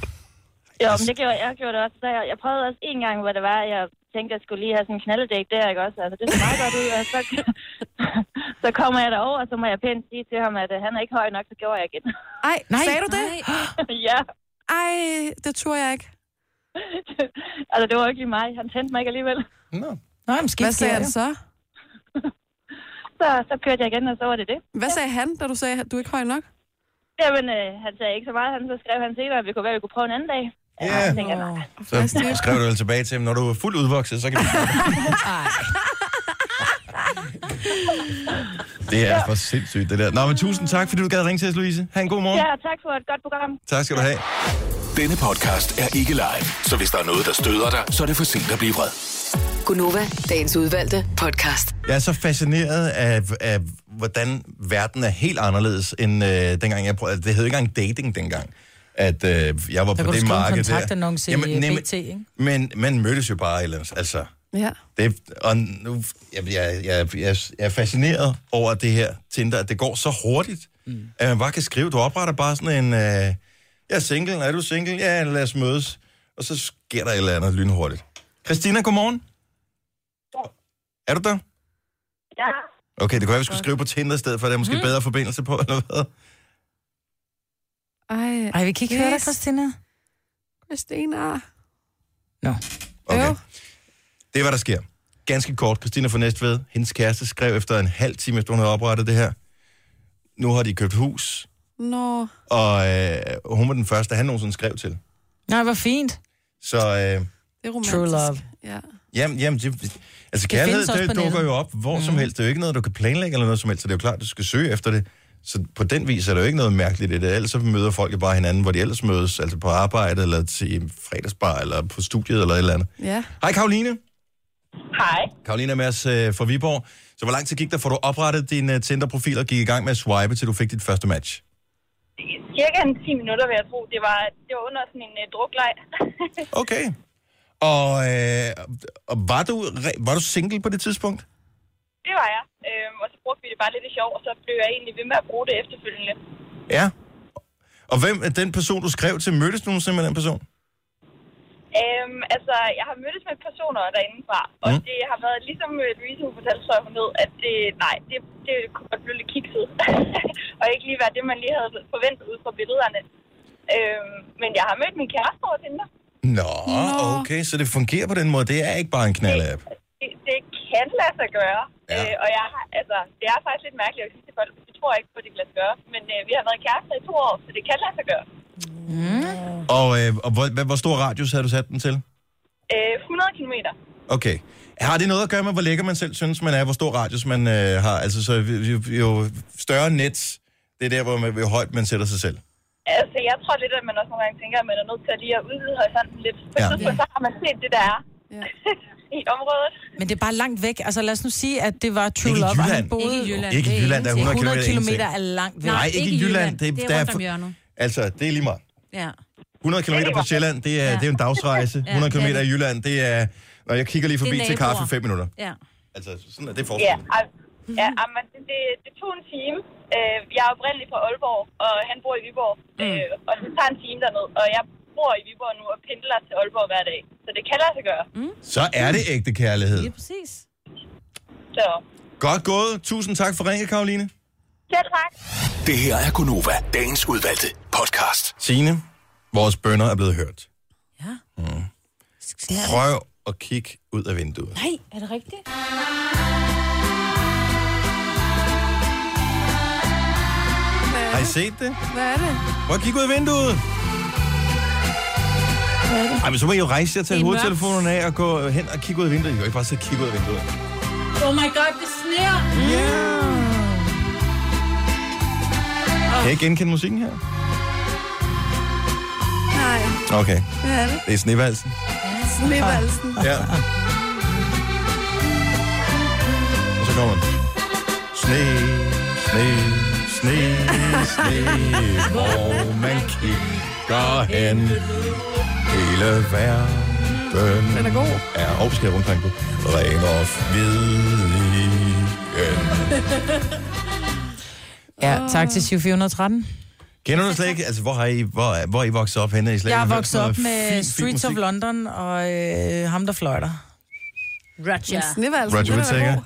Speaker 7: Jo,
Speaker 4: Altså-
Speaker 7: men det gjorde jeg, jeg gjorde det også. Så jeg, jeg prøvede også en gang, hvor det var, at jeg tænkte, at jeg skulle lige have sådan en knalddæk der, ikke også? Altså, det så meget godt ud, og så, så kommer jeg derover, og så må jeg pænt sige til ham, at øh, han er ikke høj nok, så gjorde jeg igen.
Speaker 4: Ej, Nej. sagde du det?
Speaker 7: ja,
Speaker 4: Ej, det tror jeg ikke.
Speaker 7: altså det var ikke lige mig. Han tændte mig ikke alligevel.
Speaker 1: Nå.
Speaker 2: Nå, men skidt
Speaker 4: Hvad
Speaker 2: sker
Speaker 4: sagde
Speaker 2: det.
Speaker 4: han så?
Speaker 7: Så, så kørte jeg igen, og så var det det.
Speaker 4: Hvad sagde han, da du sagde, at du er ikke høj nok?
Speaker 7: Jamen, øh, han sagde ikke så meget. Han, så skrev han senere, at vi kunne være, at vi kunne prøve en anden dag. Ja,
Speaker 1: Ja.
Speaker 7: jeg tænker, nej.
Speaker 1: Så skrev du vel tilbage til ham, når du er fuldt udvokset, så kan vi... det er for sindssygt, det der. Nå, men tusind tak, fordi du gad ringe til os, Louise. Ha' en god morgen.
Speaker 7: ja, tak for et godt program.
Speaker 1: Tak skal du have.
Speaker 5: Denne podcast er ikke live, så hvis der er noget, der støder dig, så er det for sent at blive vred.
Speaker 6: Gunova, dagens udvalgte podcast.
Speaker 1: Jeg er så fascineret af, af hvordan verden er helt anderledes, end øh, dengang jeg prøvede... Det hed ikke engang dating dengang, at øh, jeg var
Speaker 2: Der
Speaker 1: på
Speaker 2: kunne du
Speaker 1: det
Speaker 2: skrive en
Speaker 1: marked
Speaker 2: kontaktannonce i
Speaker 1: nem-
Speaker 2: BT, ikke?
Speaker 1: Men man mødtes jo bare et eller andet. Altså,
Speaker 4: Ja.
Speaker 1: Det, og nu, jeg, jeg, jeg, jeg, jeg er fascineret over det her Tinder, at det går så hurtigt, mm. at man bare kan skrive, du opretter bare sådan en, øh, jeg er single, er du single? Ja, lad os mødes. Og så sker der et eller andet lynhurtigt. Christina, godmorgen. Er du der?
Speaker 7: Ja.
Speaker 1: Okay, det kunne være, vi skulle skrive på Tinder i stedet for, der er måske mm. bedre forbindelse på, eller hvad?
Speaker 4: Ej,
Speaker 2: Ej, vi kan ikke høre dig,
Speaker 4: Yes.
Speaker 2: Christina.
Speaker 4: Christina.
Speaker 2: Nå.
Speaker 1: Okay.
Speaker 4: Øv.
Speaker 1: Det er, hvad der sker. Ganske kort, Christina fra Næstved, hendes kæreste skrev efter en halv time, efter hun havde oprettet det her. Nu har de købt hus,
Speaker 4: Nå.
Speaker 1: Og øh, hun var den første, han nogensinde skrev til.
Speaker 2: Nej, hvor fint.
Speaker 1: Så øh,
Speaker 4: Det er romantisk.
Speaker 2: True love.
Speaker 4: Ja.
Speaker 1: jamen, jamen, det, altså kærlighed,
Speaker 2: findes også
Speaker 1: det,
Speaker 2: på
Speaker 1: det dukker
Speaker 2: nettet. Mhm.
Speaker 1: jo op hvor mm. som helst. Det er jo ikke noget, du kan planlægge eller noget som helst. Så det er jo klart, du skal søge efter det. Så på den vis er der jo ikke noget mærkeligt i det. Ellers så møder folk jo bare hinanden, hvor de ellers mødes. Altså på arbejde, eller til fredagsbar, eller på studiet, eller et eller andet.
Speaker 4: Ja.
Speaker 1: Hej Karoline.
Speaker 7: Hej.
Speaker 1: Karoline er med os øh, fra Viborg. Så hvor lang tid gik der, for du oprettede din øh, Tinder-profil og gik i gang med at swipe, til du fik dit første match?
Speaker 7: Cirka en 10 minutter, vil jeg tro. Det var, det var under sådan en uh, drukleg.
Speaker 1: Okay. Og, øh, og var, du, re- var du single på det tidspunkt?
Speaker 7: det var jeg. Øhm, og så brugte vi det bare lidt i sjov, og så blev jeg egentlig ved med at bruge det efterfølgende.
Speaker 1: Ja. Og hvem er den person, du skrev til? Mødtes du nogensinde med den person?
Speaker 7: Øhm, altså, jeg har mødtes med personer derinde fra, og
Speaker 1: Mm.
Speaker 7: mm. det har været ligesom øh, Louise, hun fortalte, tror jeg, hun ved, at det, nej, det, det kunne godt blive lidt kikset. og ikke lige være det, man lige havde forventet ud fra billederne. Øhm, men jeg har mødt min kæreste over Tinder.
Speaker 1: Nå, Nå, okay, så det fungerer på den måde. Det er ikke bare en knald-app.
Speaker 7: Det, det kan lade sig gøre,
Speaker 1: Ja.
Speaker 7: ja. øh, og jeg har, altså, det er faktisk lidt mærkeligt at sige til folk, vi tror ikke på, at det kan lade sig gøre, men øh, vi har været kærester i to år, så det kan lade sig gøre.
Speaker 1: Og, øh, og hvor, hvad- hvor stor radius havde du sat den til?
Speaker 7: Øh, 100 kilometer.
Speaker 1: Okay. Har det noget at gøre med, hvor lækker man selv synes, man er, hvor stor radius man øh, har? Altså, så jo, jo større net, det er der, hvor man, hvor højt man sætter sig selv.
Speaker 7: Altså, jeg tror lidt, at man også nogle gange tænker, at man er nødt til at lige at udvide horisonten lidt. På
Speaker 1: Ja.
Speaker 7: ja. tidspunkt, så har man set det, der er
Speaker 4: Ja.
Speaker 7: i området.
Speaker 2: Men det er bare langt væk. Altså, lad os nu sige, at det var True
Speaker 1: Ikke i
Speaker 2: Love, og
Speaker 1: Jylland.
Speaker 2: han boede...
Speaker 3: Ikke i Jylland.
Speaker 1: Ikke
Speaker 3: det
Speaker 1: i
Speaker 3: er
Speaker 1: Jylland, der er 100 km.
Speaker 2: 100 km er langt væk.
Speaker 1: Nej, ikke, i Jylland.
Speaker 3: Det, det
Speaker 1: der
Speaker 3: er rundt om hjørnet.
Speaker 1: Altså, det er lige meget.
Speaker 3: Ja.
Speaker 1: 100 km fra Sjælland, det er, ja. det er en dagsrejse. 100 km
Speaker 3: det er
Speaker 1: i
Speaker 3: det.
Speaker 1: Jylland, det er... Og jeg kigger lige forbi til
Speaker 3: naboer.
Speaker 1: kaffe fem minutter.
Speaker 3: Ja.
Speaker 1: Altså, sådan er det
Speaker 7: Ja,
Speaker 1: forskellen.
Speaker 7: al- ja ah, men det, det, det tog en time. Øh, jeg er oprindeligt fra Aalborg, og han bor i Viborg. Mm. Øh, og det tager en time derned, og jeg bor i Viborg nu og pendler til Aalborg hver dag. Så det kan lade sig gøre. Mm.
Speaker 1: Så er det ægte kærlighed.
Speaker 3: Lige præcis.
Speaker 7: Så
Speaker 1: Godt gået. Tusind tak for ringet, Karoline.
Speaker 7: selv tak.
Speaker 5: Det her er Gunova, dagens udvalgte podcast.
Speaker 1: Signe, vores bønder er blevet hørt.
Speaker 3: Ja.
Speaker 1: Prøv at kigge ud af vinduet.
Speaker 3: Nej, er det rigtigt?
Speaker 1: Har I set det?
Speaker 4: Hvad er det?
Speaker 1: Prøv at kigge ud af vinduet. Ej, men så må I jo rejse jer,
Speaker 3: Det
Speaker 1: tage
Speaker 3: er
Speaker 1: hovedtelefonerne af og gå hen og kigge ud af vinduet. I kan jo ikke bare sidde og kigge ud af vinduet.
Speaker 3: Oh my god, det sneer!
Speaker 1: Kan jeg genkende musikken her?
Speaker 4: Nej,
Speaker 1: Okay,
Speaker 4: hvad er det?
Speaker 1: det er snevalsen.
Speaker 4: Snevalsen.
Speaker 1: Ja. Og så kommer den. Sne, sne, sne, sne, hvor man kigger hen. Hele verden
Speaker 4: Den er god.
Speaker 1: er opskæret rundt omkring. Ring og igen.
Speaker 2: Ja, tak til 7413.
Speaker 1: Kender du slet ikke, altså hvor, har I, hvor, er- hvor er I vokset op henne? Er I slet
Speaker 2: Jeg
Speaker 1: ikke
Speaker 2: er
Speaker 1: hørt
Speaker 2: vokset
Speaker 1: noget
Speaker 2: op med
Speaker 1: fin, fin
Speaker 2: Streets of
Speaker 1: musik?
Speaker 2: London og øh, ham, der fløjter.
Speaker 3: Roger.
Speaker 4: Ja.
Speaker 2: altså,
Speaker 4: Snevalsen,
Speaker 1: Roger
Speaker 4: den er
Speaker 1: Whittaker.
Speaker 4: god.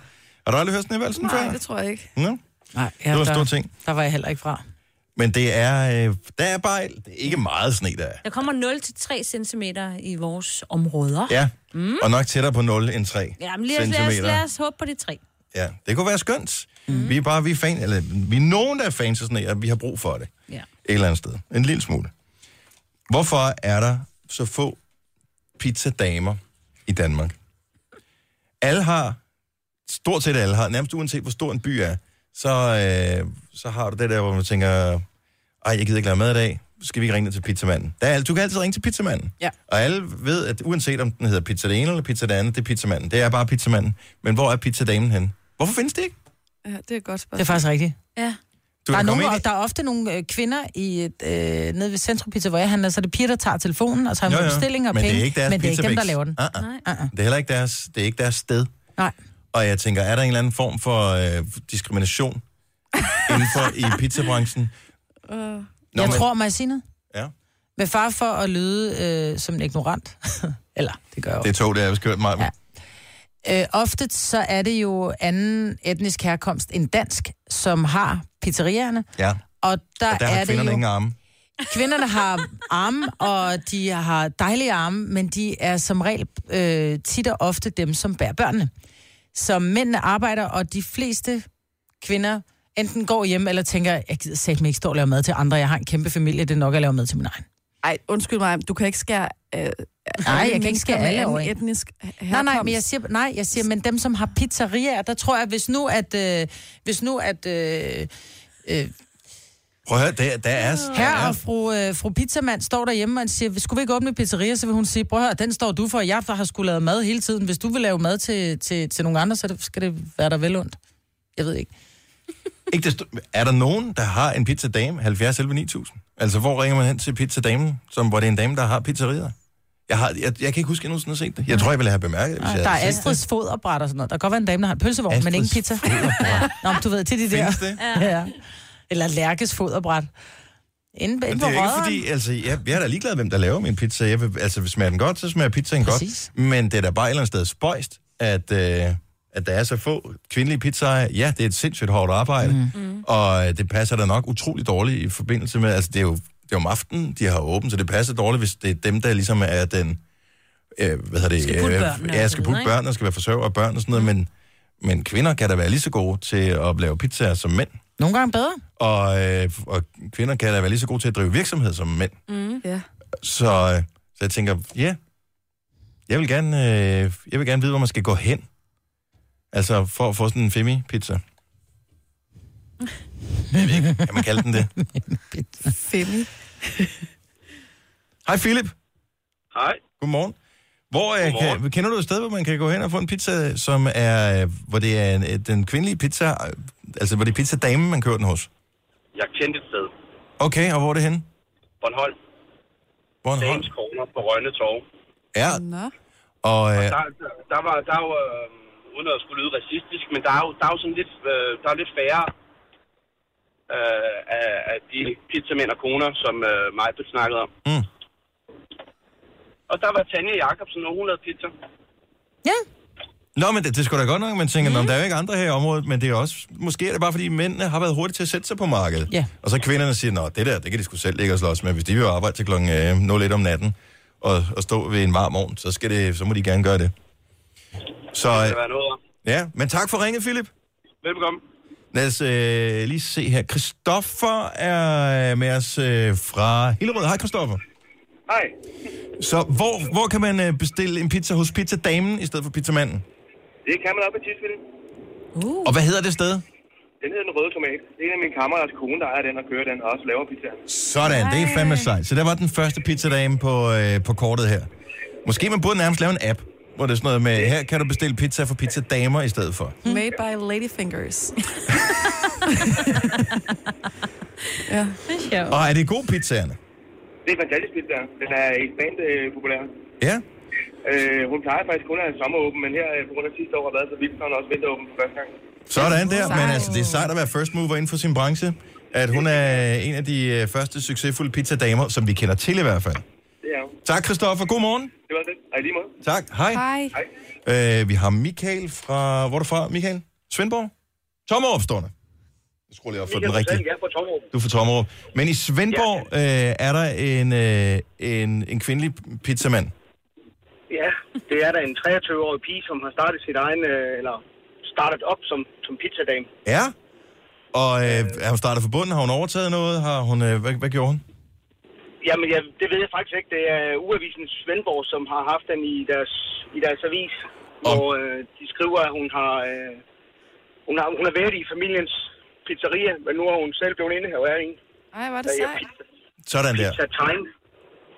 Speaker 1: Har du aldrig hørt Snevalsen før?
Speaker 4: Nej, det tror jeg ikke.
Speaker 1: Nå?
Speaker 2: Nej,
Speaker 1: Det
Speaker 2: ja,
Speaker 1: var en
Speaker 2: der,
Speaker 1: stor ting.
Speaker 2: Der var jeg heller ikke fra.
Speaker 1: Men det er, øh, der er bare det er ikke meget sne, der er.
Speaker 3: Der kommer 0-3 cm i vores områder.
Speaker 1: Ja, mm. og nok tættere på 0 end 3
Speaker 3: Jamen, lige os, lad, os, lad os håbe på de tre.
Speaker 1: Ja, det kunne være skønt. Mm. Vi er bare, vi er fan, eller vi er nogen, der er fans af sne, og vi har brug for det.
Speaker 3: Ja.
Speaker 1: Et eller andet sted. En lille smule. Hvorfor er der så få pizzadamer i Danmark? Alle har, stort set alle har, nærmest uanset hvor stor en by er, så, øh, så har du det der, hvor man tænker, ej, jeg gider ikke lave mad i dag, skal vi ikke ringe ned til pizzamanden? Der er, alt- du kan altid ringe til pizzamanden.
Speaker 2: Ja.
Speaker 1: Og alle ved, at uanset om den hedder pizza det ene eller pizza det andet, det er pizzamanden. Det er bare pizzamanden. Men hvor er pizzadamen hen? Hvorfor findes det ikke?
Speaker 4: Ja, det er et godt
Speaker 2: Det er
Speaker 4: spørgsmål.
Speaker 2: faktisk rigtigt.
Speaker 3: Ja.
Speaker 1: Du
Speaker 2: Der er,
Speaker 1: kan komme
Speaker 2: nogle,
Speaker 1: ind
Speaker 2: og der er ofte nogle øh, kvinder i et, øh, nede ved Centrum Pizza, hvor jeg handler, så er det piger, der tager telefonen, og så har
Speaker 1: Jo,
Speaker 2: nogle
Speaker 1: jo.
Speaker 2: bestillinger og
Speaker 1: Men det er
Speaker 2: penge,
Speaker 1: ikke deres
Speaker 2: men det er ikke dem, der
Speaker 1: pizzabiks.
Speaker 2: laver den.
Speaker 1: Ah, ah.
Speaker 3: Nej.
Speaker 2: Uh-uh.
Speaker 1: Det er heller ikke deres, det er ikke deres sted.
Speaker 2: Nej.
Speaker 1: Og jeg tænker, er der en eller anden form for øh, diskrimination inden for i pizzabranchen?
Speaker 4: Øh.
Speaker 1: Nå,
Speaker 2: ah. jeg
Speaker 1: men-
Speaker 2: tror, må jeg sige noget?
Speaker 1: Ja.
Speaker 2: Med far for at lyde øh, som en ignorant, eller det gør jeg jo.
Speaker 1: Det tog, det er skørt mig. Ja.
Speaker 2: Ja. Øh, ofte så er det jo anden etnisk herkomst end dansk, som har pizzerierne,
Speaker 1: ja.
Speaker 2: og der,
Speaker 1: Og der
Speaker 2: er
Speaker 1: har
Speaker 2: det
Speaker 1: kvinderne
Speaker 2: jo...
Speaker 1: ingen arme.
Speaker 2: Kvinderne har arme, og de har dejlige arme, men de er som regel øh, tit og ofte dem, som bærer børnene. Så mændene arbejder, og de fleste kvinder enten går hjem eller tænker, jeg gider sæt mig ikke stå og lave mad til andre, jeg har en kæmpe familie, det er nok at lave mad til min egen.
Speaker 4: Ej, undskyld mig, men du kan ikke skære... Øh,
Speaker 2: jeg
Speaker 4: alle
Speaker 2: kan ikke
Speaker 4: mennesker
Speaker 2: skære
Speaker 4: med
Speaker 2: alle
Speaker 4: anden
Speaker 2: over en.
Speaker 4: etnisk herkomst.
Speaker 2: Nej, nej, men jeg siger, nej, jeg siger, men dem, som har pizzerier, der tror jeg, hvis nu at, øh, hvis nu at øh, øh,
Speaker 1: Prøv at høre, der, der er... Der
Speaker 2: herre
Speaker 1: er
Speaker 2: og fru, øh, fru pizzamand står derhjemme og siger, skulle vi ikke åbne pizzeria, så vil hun sige, prøv at høre, den står du for, jeg der har skulle lavet mad hele tiden. Hvis du vil lave mad til, til, til nogle andre, så det- skal det være dig vel ondt. Jeg ved ikke.
Speaker 1: ikke desto, er der nogen, der har en pizzadame? 70 11 9000. Altså, hvor ringer man hen til pizzadamen, som, hvor det er en dame, der har pizzerier? Jeg, har, jeg, jeg kan ikke huske, at jeg nogensinde har set det. Jeg tror, jeg ville have bemærket det, hvis jeg
Speaker 2: Der
Speaker 1: havde
Speaker 2: er
Speaker 1: set det.
Speaker 2: Astrids foderbræt og sådan noget. Der kan godt være en dame, der har en pølsevogn, men ikke en
Speaker 1: Astrids
Speaker 2: pizza.
Speaker 1: foderbræt.
Speaker 2: Nå, men du ved, til de der.
Speaker 1: Findes det?
Speaker 2: Ja. Eller Lærkes foderbræt. Inde, inde
Speaker 1: Men
Speaker 2: på
Speaker 1: det er jo ikke
Speaker 2: Rødderen.
Speaker 1: fordi, altså, jeg, jeg er da ligeglad, hvem der laver min pizza. Jeg vil, altså, hvis smager den godt, så smager pizzaen
Speaker 2: Præcis.
Speaker 1: godt. Men det er da bare et eller andet sted spøjst, at, øh, at der er så få kvindelige pizzaer. Ja, det er et sindssygt hårdt arbejde, mm. og øh, det passer da nok utrolig dårligt i forbindelse med, altså, det er jo, det er om aftenen, de har åbent, så det passer dårligt, hvis det er dem, der ligesom er den, øh, hvad hedder det?
Speaker 3: Skal putte børnene
Speaker 1: ja,
Speaker 3: og så
Speaker 1: skal
Speaker 3: videre,
Speaker 1: putte
Speaker 3: ikke? Mm.
Speaker 1: børn, og skal være forsørger af børn og sådan noget, men, men kvinder kan da være lige så gode til at lave pizzaer som mænd.
Speaker 2: Nogle gange bedre.
Speaker 1: Og, øh, og kvinder kan da være lige så gode til at drive virksomhed som mænd.
Speaker 4: Ja.
Speaker 1: Så, øh, så jeg tænker, ja, yeah, jeg, vil gerne, øh, jeg vil gerne vide, hvor man skal gå hen. Altså for at få sådan en femi-pizza. Jeg ved ikke, kan man kalde den det?
Speaker 4: Femi.
Speaker 1: Hej Philip,
Speaker 8: Hej.
Speaker 1: godmorgen. Hvor, øh,
Speaker 8: Godmorgen.
Speaker 1: Kan, kender du et sted, hvor man kan gå hen og få en pizza, som er, øh, hvor det er en, øh, den kvindelige pizza, øh, altså hvor det er pizzadamen, man kører den hos?
Speaker 8: Jeg kendte et sted.
Speaker 1: Okay, og hvor er det henne?
Speaker 8: Bornholm.
Speaker 1: Bornholm.
Speaker 8: Dagens Corner på Rønne Torv.
Speaker 1: Ja,
Speaker 4: Nå.
Speaker 1: Og, øh,
Speaker 8: Der, der, der var, der var øh, uden at skulle lyde racistisk, men der er jo, der er jo sådan lidt, øh, der er lidt færre øh, af, af de pizzamænd og koner, som øh, mig snakkede om.
Speaker 1: Mm.
Speaker 8: Og der var Tanja Jacobsen, og hun lavede pizza.
Speaker 2: Ja.
Speaker 1: Nå, men det, det er sgu da godt nok, man tænker, mm. der er jo ikke andre her i området, men det er også, måske er det bare, fordi mændene har været hurtige til at sætte sig på markedet.
Speaker 2: Ja.
Speaker 1: Og så kvinderne siger, nå, det der, det kan de sgu selv ligge og slås med. Hvis de vil arbejde til klokken øh, 0 om natten og, og, stå ved en varm ovn, så, skal det, så må de gerne gøre det. Så
Speaker 8: Det
Speaker 1: øh,
Speaker 8: kan være noget om.
Speaker 1: ja, men tak for ringet, Philip.
Speaker 8: Velbekomme.
Speaker 1: Lad os øh, lige se her. Christoffer er øh, med os øh, fra Hillerød. Hej, Christoffer.
Speaker 8: Hej.
Speaker 1: Så hvor, hvor kan man øh, bestille en pizza hos pizzadamen i stedet for pizzamanden?
Speaker 8: Det kan man op i Tisvilde.
Speaker 3: Uh.
Speaker 1: Og hvad hedder det sted?
Speaker 8: Den hedder Den Røde Tomat. Det er en af mine kammerats kone, der ejer den og kører den, og også laver pizza.
Speaker 1: Sådan, det er fandme sejt. Så der var den første pizzadame på, øh, på kortet her. Måske man burde nærmest lave en app, hvor det er sådan noget med, her kan du bestille pizza for pizzadamer i stedet for.
Speaker 2: Mm.
Speaker 4: Made by Ladyfingers. ja.
Speaker 1: Og er det gode pizzaerne?
Speaker 8: Det er fantastisk pizza. Den er ekstremt øh, populær.
Speaker 1: Ja.
Speaker 8: Øh, hun plejer faktisk kun at have sommeråben, men her øh, på grund af sidste år har været så vildt, så har hun også vinteråben for første gang.
Speaker 1: Sådan der, men altså, det er sejt at være first mover inden for sin branche. At hun er en af de øh, første succesfulde pizzadamer, som vi kender til i hvert fald.
Speaker 8: Det er hun.
Speaker 1: Tak, Christoffer. God morgen.
Speaker 8: Det var det. Og i lige måde.
Speaker 1: Tak. Hej.
Speaker 4: Hej.
Speaker 1: Øh,
Speaker 8: Hej.
Speaker 1: vi har Michael fra... Hvor er du fra, Michael? Svendborg? Tommerup står der. Jeg skruer lige op for den rigtige.
Speaker 8: Ja, på Tommerup.
Speaker 1: Du er fra Tommerup. Men i Svendborg øh, er der en, øh, en, en kvindelig pizzamand.
Speaker 8: Ja, det er der en 23-årig pige, som har startet sit egen, øh, eller startet op som, som pizzadame.
Speaker 1: Ja. Og øh, er hun startet for bunden? Har hun overtaget noget? Har hun, øh, hvad, hvad gjorde hun?
Speaker 8: Jamen, jeg, det ved jeg faktisk ikke. Det er Uavisen Svendborg, som har haft den i deres, i deres avis, hvor øh, de skriver, at hun har, øh, hun har, hun har været i familiens pizzeria, men nu har hun selv blevet indehaver af en.
Speaker 4: Ej, var det
Speaker 8: Der er
Speaker 4: sejt.
Speaker 8: pizza,
Speaker 1: Sådan der.
Speaker 8: pizza Time.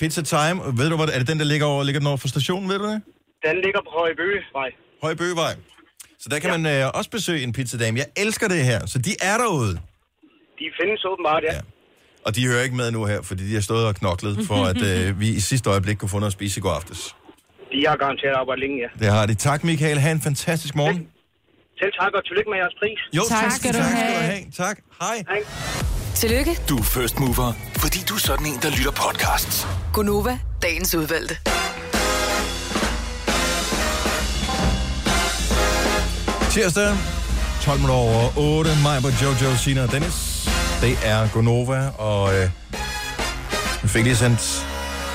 Speaker 1: Pizza Time. Ved du, hvor er det den, der ligger over, ligger den over for stationen? Ved du det?
Speaker 8: Den ligger på Højebøgevej.
Speaker 1: Høje Bøgevej. Så der kan ja. man øh, også besøge en pizzadame. Jeg elsker det her. Så de er derude.
Speaker 8: De findes åbenbart, ja.
Speaker 1: Ja. Og de hører ikke med nu her, fordi de har stået og knoklet for, at øh, vi i sidste øjeblik kunne få noget at spise i går aftes.
Speaker 8: De har garanteret arbejdet længe, ja.
Speaker 1: Det har de. Tak, Michael. Ha' en fantastisk morgen.
Speaker 8: Selv tak, og tillykke med jeres pris.
Speaker 1: Jo,
Speaker 2: Tak skal du
Speaker 1: tak,
Speaker 2: have.
Speaker 1: Skal du have. Tak. Hej.
Speaker 8: Hej.
Speaker 6: Tillykke,
Speaker 5: Du er first mover, fordi du er sådan en, der lytter podcasts.
Speaker 6: Gunova, dagens udvalgte.
Speaker 1: Tirsdag, 12 minutter over 8. Mig på Jojo, Sina og Dennis. Det er Gonova, og øh, vi fik lige sendt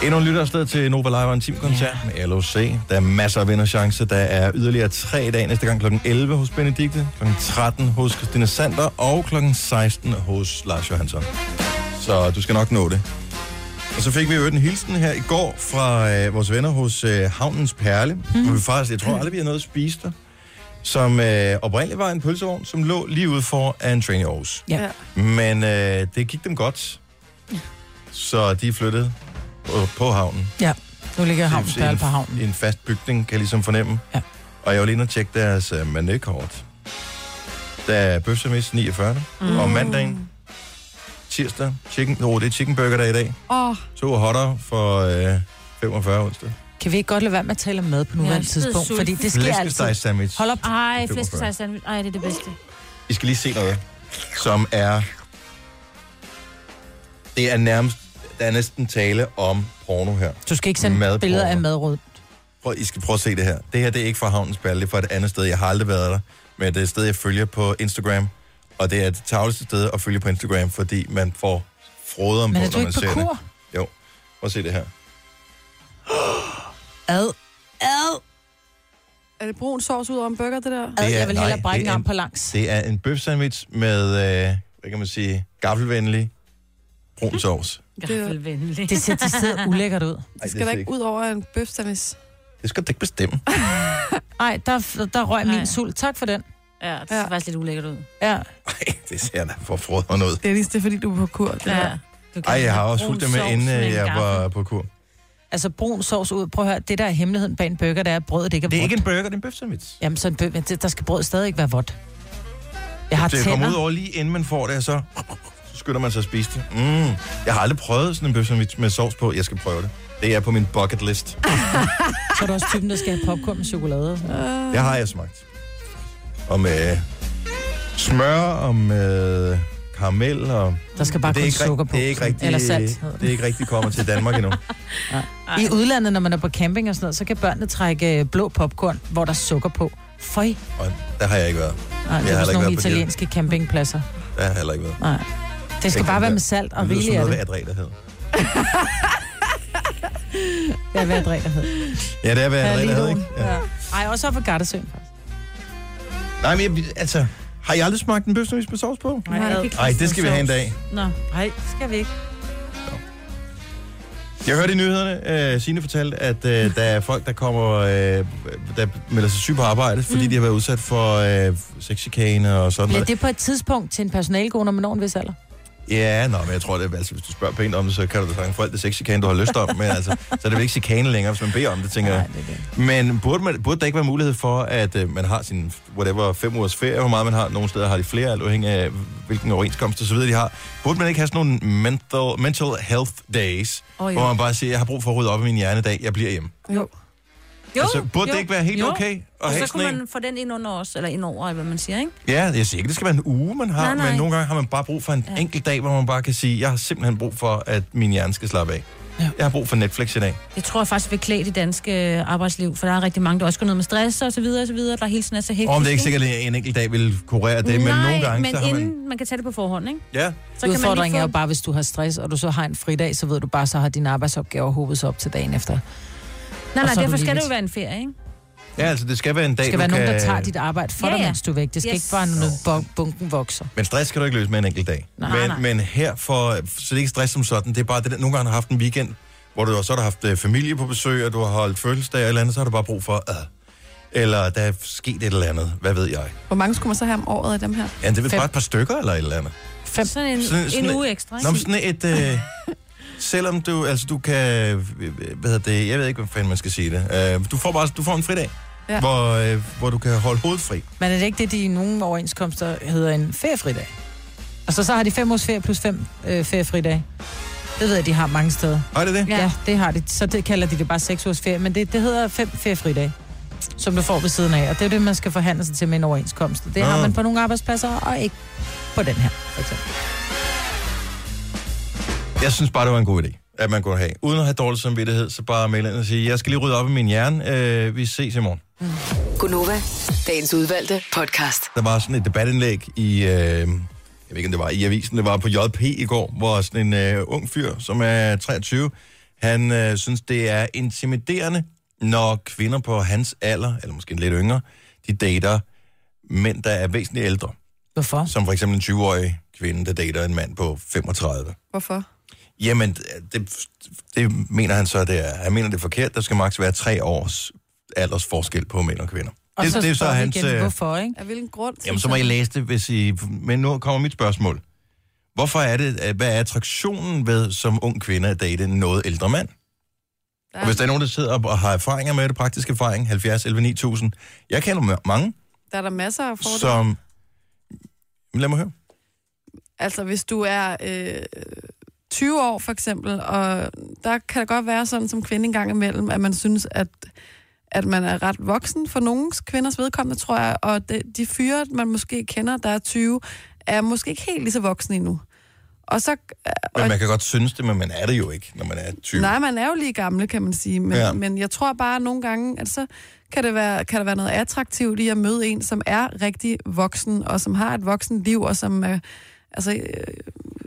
Speaker 1: endnu en lytter afsted til Nova Live og en teamkoncert med LOC. Der er masser af vinderchancer. Der er yderligere tre i dag. Næste gang kl. 11 hos Benedikte, kl. 13 hos Christina Sander og kl. 16 hos Lars Johansson. Så du skal nok nå det. Og så fik vi jo en hilsen her i går fra øh, vores venner hos øh, Havnens Perle. Mm. Hvor vi faktisk, jeg tror aldrig, vi har noget at spise der. Som øh, oprindeligt var en pølsevogn, som lå lige ude for en train i Aarhus.
Speaker 2: Ja.
Speaker 1: Men øh, det gik dem godt. Så de flyttede på, på havnen.
Speaker 2: Ja. Nu ligger havnen
Speaker 1: I en,
Speaker 2: på havnen.
Speaker 1: i en fast bygning, kan jeg ligesom fornemme.
Speaker 2: Ja.
Speaker 1: Og jeg var lige inde og tjekke deres øh, menukort. Der er bøfsemist 49. Mm. Og mandagen, tirsdag, chicken, oh, det er chicken burger der i dag.
Speaker 4: Åh, oh,
Speaker 1: To hotter for øh, 45 onsdag.
Speaker 2: Kan vi ikke godt lade være med at tale om mad på nuværende
Speaker 3: Jeg er
Speaker 2: ja, tidspunkt?
Speaker 3: sulten.
Speaker 2: Fordi det sker altid.
Speaker 1: Flæskesteg sandwich.
Speaker 2: Hold op.
Speaker 3: Ej,
Speaker 1: 45.
Speaker 3: flæskesteg sandwich. Ej, det er det bedste.
Speaker 1: I skal lige se noget, som er... Det er nærmest... Der er næsten tale om porno her.
Speaker 2: Du skal ikke sende
Speaker 1: Madporno.
Speaker 2: billeder af madråd.
Speaker 1: Prøv, I skal prøve at se det her. Det her det er ikke fra Havnens Perle, det er fra et andet sted. Jeg har aldrig været der, men det er et sted, jeg følger på Instagram. Og det er det tavleste sted at følge på Instagram, fordi man får froder om
Speaker 2: Men er
Speaker 1: når
Speaker 2: du
Speaker 1: man
Speaker 2: ikke
Speaker 1: ser
Speaker 2: på kur?
Speaker 1: det. Jo, prøv at se det her.
Speaker 2: Ad. Ad.
Speaker 4: er det brun sovs ud over en burger, det der?
Speaker 2: Ad.
Speaker 1: Det er-
Speaker 2: Jeg vil
Speaker 1: nej,
Speaker 2: hellere brække
Speaker 1: det
Speaker 2: en
Speaker 1: er
Speaker 2: arm
Speaker 1: en-
Speaker 2: på langs.
Speaker 1: Det er en bøfsandwich med, øh, hvad kan man sige, gaffelvenlig
Speaker 2: Mhm.
Speaker 1: brun sovs.
Speaker 3: Gaffelvenlig.
Speaker 2: Det ser decideret ulækkert ud.
Speaker 1: Ej,
Speaker 4: Skal der ikke ud over en bøfstanis?
Speaker 1: det skal du ikke bestemme.
Speaker 2: Nej, der, der røg min
Speaker 3: Nej.
Speaker 2: sult. Tak for den.
Speaker 3: Ja, det ser
Speaker 4: Ja.
Speaker 3: faktisk lidt ulækkert ud.
Speaker 2: Ja.
Speaker 1: Ej, det ser da for froderen ud.
Speaker 4: Dennis, det er fordi, du er på kur. Det ja. Der.
Speaker 3: Du kan
Speaker 1: Ej, jeg har
Speaker 3: have
Speaker 1: også
Speaker 3: brun
Speaker 1: fulgt det med,
Speaker 3: sovs
Speaker 1: inden øh,
Speaker 3: en
Speaker 1: jeg
Speaker 3: gaffel.
Speaker 1: var på kur.
Speaker 2: Altså brun sovs ud. Prøv at høre, det der er hemmeligheden bag en burger, det er, at brødet ikke er,
Speaker 1: Det er
Speaker 2: vådt.
Speaker 1: ikke en burger, det er en bøfsandwich.
Speaker 2: Jamen, så en bø- men det- der skal brødet stadig ikke være vådt. Jeg har
Speaker 1: Det kommer ud
Speaker 2: tænder.
Speaker 1: over lige inden man får det, og så, så skynder man sig at spise det. Mm. Jeg har aldrig prøvet sådan en bøfsandwich med sovs på. Jeg skal prøve det. Det er på min bucket list.
Speaker 2: Så er du også typen, der skal have popcorn med chokolade. og sådan noget.
Speaker 1: Det har jeg smagt. Og med smør og med karamel og...
Speaker 2: Der skal bare
Speaker 1: det er
Speaker 2: kun
Speaker 1: ikke,
Speaker 2: sukker
Speaker 1: rigt-
Speaker 2: på.
Speaker 1: det er ikke rigtig,
Speaker 2: Eller salt. hedder
Speaker 1: Det er ikke rigtig kommet til Danmark endnu.
Speaker 2: I udlandet, når man er på camping og sådan noget, så kan børnene trække øh, blå popcorn, hvor der er sukker på. Føj. Nej,
Speaker 1: Og der har jeg ikke været.
Speaker 2: det
Speaker 1: heller
Speaker 2: er
Speaker 1: ikke
Speaker 2: sådan nogle
Speaker 1: været på de-
Speaker 2: italienske campingpladser.
Speaker 1: Der har jeg heller ikke været.
Speaker 2: Nej. Det skal
Speaker 1: Ikke
Speaker 2: bare
Speaker 1: den
Speaker 2: være
Speaker 1: der.
Speaker 2: med salt og
Speaker 1: Det lyder
Speaker 2: rigeligt
Speaker 1: sådan
Speaker 2: af
Speaker 1: noget, hvad
Speaker 2: det.
Speaker 1: Adræ, der hedder.
Speaker 2: Ja, hvad er det, der hedder?
Speaker 1: Ja, det er, hvad
Speaker 2: Ja,
Speaker 1: Adræ, der hedder,
Speaker 2: Lidoen.
Speaker 1: ikke? Ja.
Speaker 2: Ja. Ej, også op for Gardasøen, faktisk.
Speaker 1: Nej, men jeg, altså, har I aldrig smagt en bøfsnuis med sovs på?
Speaker 2: Nej,
Speaker 3: jeg kan
Speaker 2: ikke.
Speaker 1: Nej, det skal vi have en dag.
Speaker 2: Nå, nej, det skal vi ikke.
Speaker 1: Jeg hørte i nyhederne, uh, Signe fortalte, at uh, der er folk, der kommer, uh, der melder sig syg på arbejde, fordi mm. de har været udsat for uh, sexchikane og sådan
Speaker 2: Bliver
Speaker 1: noget.
Speaker 2: det på et tidspunkt til en personalekone, når man når en vis alder?
Speaker 1: Ja, nå, men jeg tror, det er, altså, hvis du spørger pænt om det, så kan du da sange for alt det sexchikane, du har lyst om, men altså, så er det vel ikke chikane længere, hvis man beder om det, tænker jeg.
Speaker 2: det er det.
Speaker 1: Men burde, man, burde der ikke være mulighed for, at øh, man har sin, whatever, fem ugers ferie, hvor meget man har, nogle steder har de flere, alt afhængig af, hvilken overenskomst og så videre de har. Burde man ikke have sådan nogle mental, mental health days,
Speaker 3: Åh,
Speaker 1: oh,
Speaker 3: jo.
Speaker 1: hvor man bare siger, jeg har brug for at rydde op i min hjerne i dag, jeg bliver hjemme.
Speaker 4: Jo.
Speaker 3: Jo,
Speaker 1: altså, burde det ikke være helt
Speaker 3: jo.
Speaker 1: okay at
Speaker 3: Og
Speaker 1: have
Speaker 3: så kunne
Speaker 1: sådan en?
Speaker 3: man få den ind under os, eller ind over, eller hvad man siger, ikke?
Speaker 1: Ja, jeg siger ikke, det skal være en uge, man har,
Speaker 3: Nej, nej.
Speaker 1: men nogle gange har man bare brug for en ja. enkelt dag, hvor man bare kan sige, jeg har simpelthen brug for, at min hjerne skal slappe af. Ja. Jeg har brug for Netflix i dag.
Speaker 3: Jeg tror jeg faktisk, vi klæde det danske øh, arbejdsliv, for der er rigtig mange, der også går ned med stress og så videre, og så videre, der hele tiden er så hektisk.
Speaker 1: Og om det er ikke sikkert, at en enkelt dag vil kurere det, men
Speaker 3: Nej,
Speaker 1: nogle gange,
Speaker 3: men
Speaker 1: så har
Speaker 3: inden
Speaker 1: man...
Speaker 3: man kan tage det på forhånd, ikke?
Speaker 1: Ja,
Speaker 3: Så
Speaker 2: Udfordringen er jo
Speaker 3: kan man lige få...
Speaker 2: bare, hvis du har stress, og du så har en fridag, så ved du bare, så har dine arbejdsopgaver hobet sig op til dagen efter. Der
Speaker 3: Nej,
Speaker 2: og
Speaker 3: nej,
Speaker 2: så er
Speaker 3: derfor
Speaker 2: du
Speaker 3: skal
Speaker 2: lige
Speaker 3: det jo være en ferie, ikke?
Speaker 1: ja, altså det skal være en dag,
Speaker 2: skal
Speaker 1: du
Speaker 2: være
Speaker 1: kan...
Speaker 2: nogen, der tager dit arbejde for
Speaker 3: Ja,
Speaker 2: ja, dig,
Speaker 3: ja.
Speaker 2: mens du er væk. Det skal
Speaker 3: Yes.
Speaker 2: ikke bare noget, bu- bunken vokser.
Speaker 1: Men stress kan du ikke løse med en enkelt dag.
Speaker 2: Nej,
Speaker 1: men,
Speaker 2: nej.
Speaker 1: men her for, så det er ikke stress som sådan, det er bare det, der, nogle gange har haft en weekend, hvor du så har du haft øh, familie på besøg, og du har holdt fødselsdag eller andet, så har du bare brug for, øh, eller der er sket et eller andet, hvad ved jeg.
Speaker 4: Hvor mange skulle man så have om året af dem her?
Speaker 1: Ja, det er vel
Speaker 2: Fem.
Speaker 1: bare et par stykker eller et eller andet.
Speaker 2: Fem.
Speaker 3: Sådan en,
Speaker 1: Sådan- sådan
Speaker 3: en
Speaker 1: en-
Speaker 3: uge ekstra,
Speaker 1: Nå,
Speaker 3: ikke?
Speaker 1: men sådan et... Øh, selvom du, altså du kan, øh, hvad hedder det, jeg ved ikke, hvad fanden man skal sige det. Øh, du får bare, du får en fridag, ja.
Speaker 4: Ja.
Speaker 1: hvor, øh, hvor du kan holde hovedet fri.
Speaker 2: Men er det ikke det, de i nogle overenskomster hedder en feriefridag? Altså, så har de fem års ferie plus fem øh, feriefridage. Det ved jeg, de har mange steder.
Speaker 1: Har det det?
Speaker 2: Ja. ja, det har de. Så det kalder de det bare seks års ferie, men det, det hedder fem feriefridage som du får ved siden af. Og det er jo det, man skal forhandle sig til med en overenskomst. Det har
Speaker 1: Nå.
Speaker 2: man på nogle arbejdspladser, og ikke på den her, for eksempel.
Speaker 1: Jeg synes bare, det var en god idé, at man kunne have. Uden at have dårlig samvittighed, så bare melde ind og sige, jeg skal lige rydde op i min hjerne. Øh, vi ses i morgen.
Speaker 6: Gunova, dagens udvalgte podcast.
Speaker 1: Der var sådan et debatindlæg i, øh, jeg ved ikke om det var i avisen, det var på JP i går, hvor sådan en øh, ung fyr, som er 23, han øh, synes, det er intimiderende, når kvinder på hans alder, eller måske lidt yngre, de dater mænd, der er væsentligt ældre.
Speaker 2: Hvorfor?
Speaker 1: Som for eksempel en 20-årig kvinde, der dater en mand på 35.
Speaker 4: Hvorfor?
Speaker 1: Jamen, det, det mener han så, det er. Han mener, det er forkert. Der skal maks være tre års aldersforskel på mænd og kvinder.
Speaker 2: Og
Speaker 1: det, det er
Speaker 2: spørger
Speaker 1: så
Speaker 2: vi
Speaker 1: hans...
Speaker 2: Igen,
Speaker 1: øh,
Speaker 2: hvorfor, ikke?
Speaker 4: Af hvilken grund?
Speaker 1: Jamen, så må I læse det, hvis I... Men nu kommer mit spørgsmål. Hvorfor er det... at- Hvad er attraktionen ved som ung kvinde at date en noget ældre mand? Ja. Og hvis der er nogen, der sidder op og har erfaringer med det, praktiske erfaring, 70, 11, 9000. Jeg kender ma- mange,
Speaker 4: Der er der masser af fordele. Så...
Speaker 1: som... Jamen, Lad mig høre.
Speaker 4: Altså, hvis du er øh, 20 år, for eksempel, og der kan det godt være sådan som kvinde engang imellem, at man synes, at at man er ret voksen for nogle kvinders vedkommende, tror jeg, og de, de fyre, man måske kender, der er 20, er måske ikke helt lige så voksne endnu. Og så...
Speaker 1: Men
Speaker 4: og-
Speaker 1: man kan godt synes det, men man er det jo ikke, når man er 20.
Speaker 4: Nej, man er jo lige gamle, kan man sige. Men,
Speaker 1: Ja.
Speaker 4: ja. men jeg tror bare nogle gange, at så kan, det være, kan der være noget attraktivt i at møde en, som er rigtig voksen, og som har et voksen liv, og som er... Altså, øh,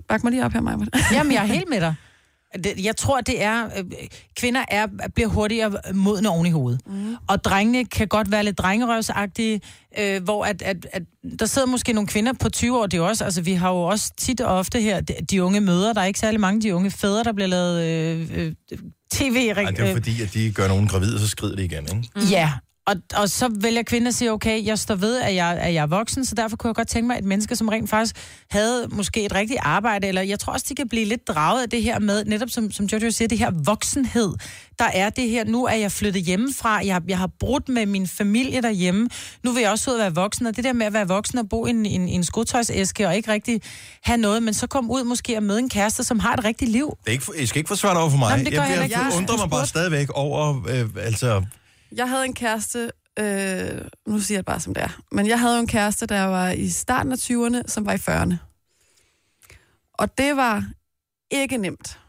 Speaker 4: bak mig lige op her, Maja.
Speaker 2: Jamen, jeg er helt med dig. Det, jeg tror, det er... Øh, kvinder er, bliver hurtigere modne oven i hovedet. Mm. Og drengene kan godt være lidt drengerøvsagtige, øh, hvor at, at, at, der sidder måske nogle kvinder på 20 år, det er jo også... Altså, vi har jo også tit og ofte her de, de unge mødre. Der er ikke særlig mange af de unge fædre, der bliver lavet øh, øh, tv...
Speaker 1: Ej, det er jo fordi, at de gør nogen gravide, og så skrider de igen, ikke?
Speaker 2: Mm. Ja, Og, og så vælger kvinden at sige, okay, jeg står ved, at jeg, at jeg er voksen, så derfor kunne jeg godt tænke mig et menneske, som rent faktisk havde måske et rigtigt arbejde, eller jeg tror også, de kan blive lidt draget af det her med, netop som, som Jojo siger, det her voksenhed. Der er det her, nu er jeg flyttet hjemmefra, jeg, har- jeg har brudt med min familie derhjemme, nu vil jeg også ud og være voksen, og det der med at være voksen og bo i en, en, en skotøjsæske og ikke rigtig have noget, men så kom ud måske og møde en kæreste, som har et rigtigt liv.
Speaker 1: Det er ikke, for- I skal ikke forsvare det over for mig.
Speaker 2: Jamen, det gør
Speaker 1: jeg,
Speaker 2: jeg
Speaker 1: jeg,
Speaker 2: heller
Speaker 1: jeg
Speaker 2: ikke.
Speaker 1: undrer mig bare stadigvæk over, øh, altså,
Speaker 4: Jeg havde en kæreste, øh, nu siger jeg det bare som det er, men jeg havde jo en kæreste, der var i starten af 20'erne, som var i 40'erne. Og det var ikke nemt.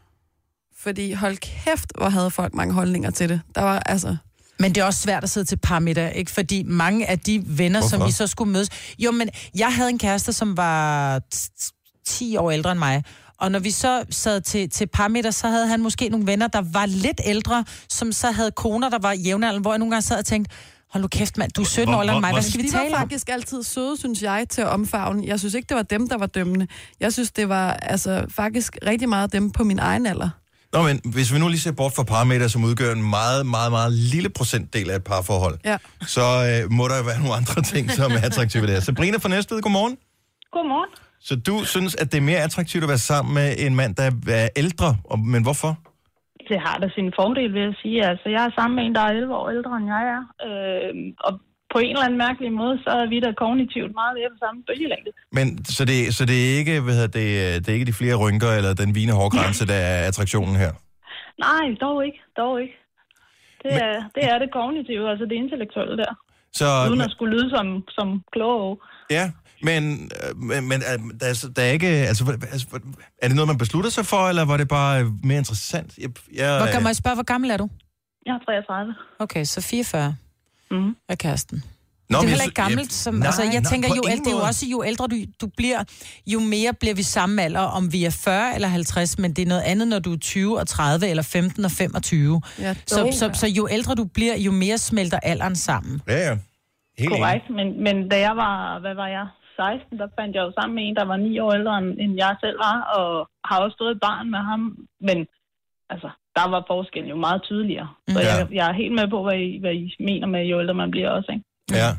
Speaker 4: Fordi hold kæft, hvor havde folk mange holdninger til det. Der var altså...
Speaker 2: Men det er også svært at sidde til parmiddag, ikke? Fordi mange af de venner, Hvorfor? som
Speaker 1: Hvorfor?
Speaker 2: vi så skulle mødes... Jo, men jeg havde en kæreste, som var t- t- 10 år ældre end mig. Og når vi så sad til, til parmiddag, så havde han måske nogle venner, der var lidt ældre, som så havde koner, der var jævnaldrende, hvor jeg nogle gange sad og tænkte, hold nu kæft, mand, du er 17 år ældre end mig, hvad skal vi
Speaker 4: De
Speaker 2: tale
Speaker 4: var
Speaker 2: om?
Speaker 4: faktisk altid søde, synes jeg, til at omfavne. Jeg synes ikke, det var dem, der var dømmende. Jeg synes, det var altså, faktisk rigtig meget dem på min egen alder.
Speaker 1: Nå, men hvis vi nu lige ser bort fra parameter, som udgør en meget, meget, meget lille procentdel af et parforhold,
Speaker 4: Ja.
Speaker 1: så øh, må der jo være nogle andre ting, som er attraktive der. Sabrina fra Næstved, godmorgen.
Speaker 7: Godmorgen.
Speaker 1: Så du synes, at det er mere attraktivt at være sammen med en mand, der er ældre, og, men hvorfor?
Speaker 7: Det har da sin fordel, vil jeg sige. Altså, jeg er sammen med en, der er 11 år ældre, end jeg er. Øh, og på en eller anden mærkelig måde, så er vi da kognitivt meget mere på samme bølgelængde.
Speaker 1: Men, så, det, så det, er ikke, hvad hedder det, øh, det er ikke de flere rynker eller den vigende hårgrænse, der er attraktionen her?
Speaker 7: Nej, dog ikke. Dog ikke. Det er, det er det kognitive, altså det intellektuelle der.
Speaker 1: Så,
Speaker 7: Uden at skulle lyde som, som kloge.
Speaker 1: Ja, men, øh, men, men øh, der, er, så- der er ikke... Altså, hvad- altså, hvad- er det noget, man beslutter sig for, eller var det bare øh, mere interessant? Jeg, jeg,
Speaker 2: Hvor, kan- må jeg spørge, hvor gammel er du?
Speaker 7: Jeg er 33.
Speaker 2: Okay, så 44
Speaker 7: Mhm.
Speaker 2: er kæresten.
Speaker 1: Nå, men
Speaker 2: det er
Speaker 1: jeg
Speaker 2: heller
Speaker 1: sy-
Speaker 2: ikke gammelt. Som,
Speaker 1: nej,
Speaker 2: altså, jeg
Speaker 1: nej,
Speaker 2: tænker,
Speaker 1: på
Speaker 2: jo,
Speaker 1: ingen
Speaker 2: ældre, det er jo
Speaker 1: måde.
Speaker 2: også, jo ældre du, du bliver, jo mere bliver vi samme alder, om vi er 40 eller 50, men det er noget andet, når du er 20 og 30, eller 15 og 25.
Speaker 4: Ja,
Speaker 2: Så, så, så jo ældre du bliver, jo mere smelter alderen sammen.
Speaker 1: Ja, ja. Helt enig.
Speaker 7: Korrekt, men, men da jeg var, hvad var jeg, 16, der fandt jeg jo sammen med en, der var 9 år ældre, end, end jeg selv var, og har også stået et barn med ham, men altså, der var forskellen jo meget tydeligere. Så
Speaker 1: Mm. Ja.
Speaker 7: ja. jeg, jeg er helt med på, hvad I, hvad I mener med, jo ældre man bliver også, ikke?
Speaker 1: Ja.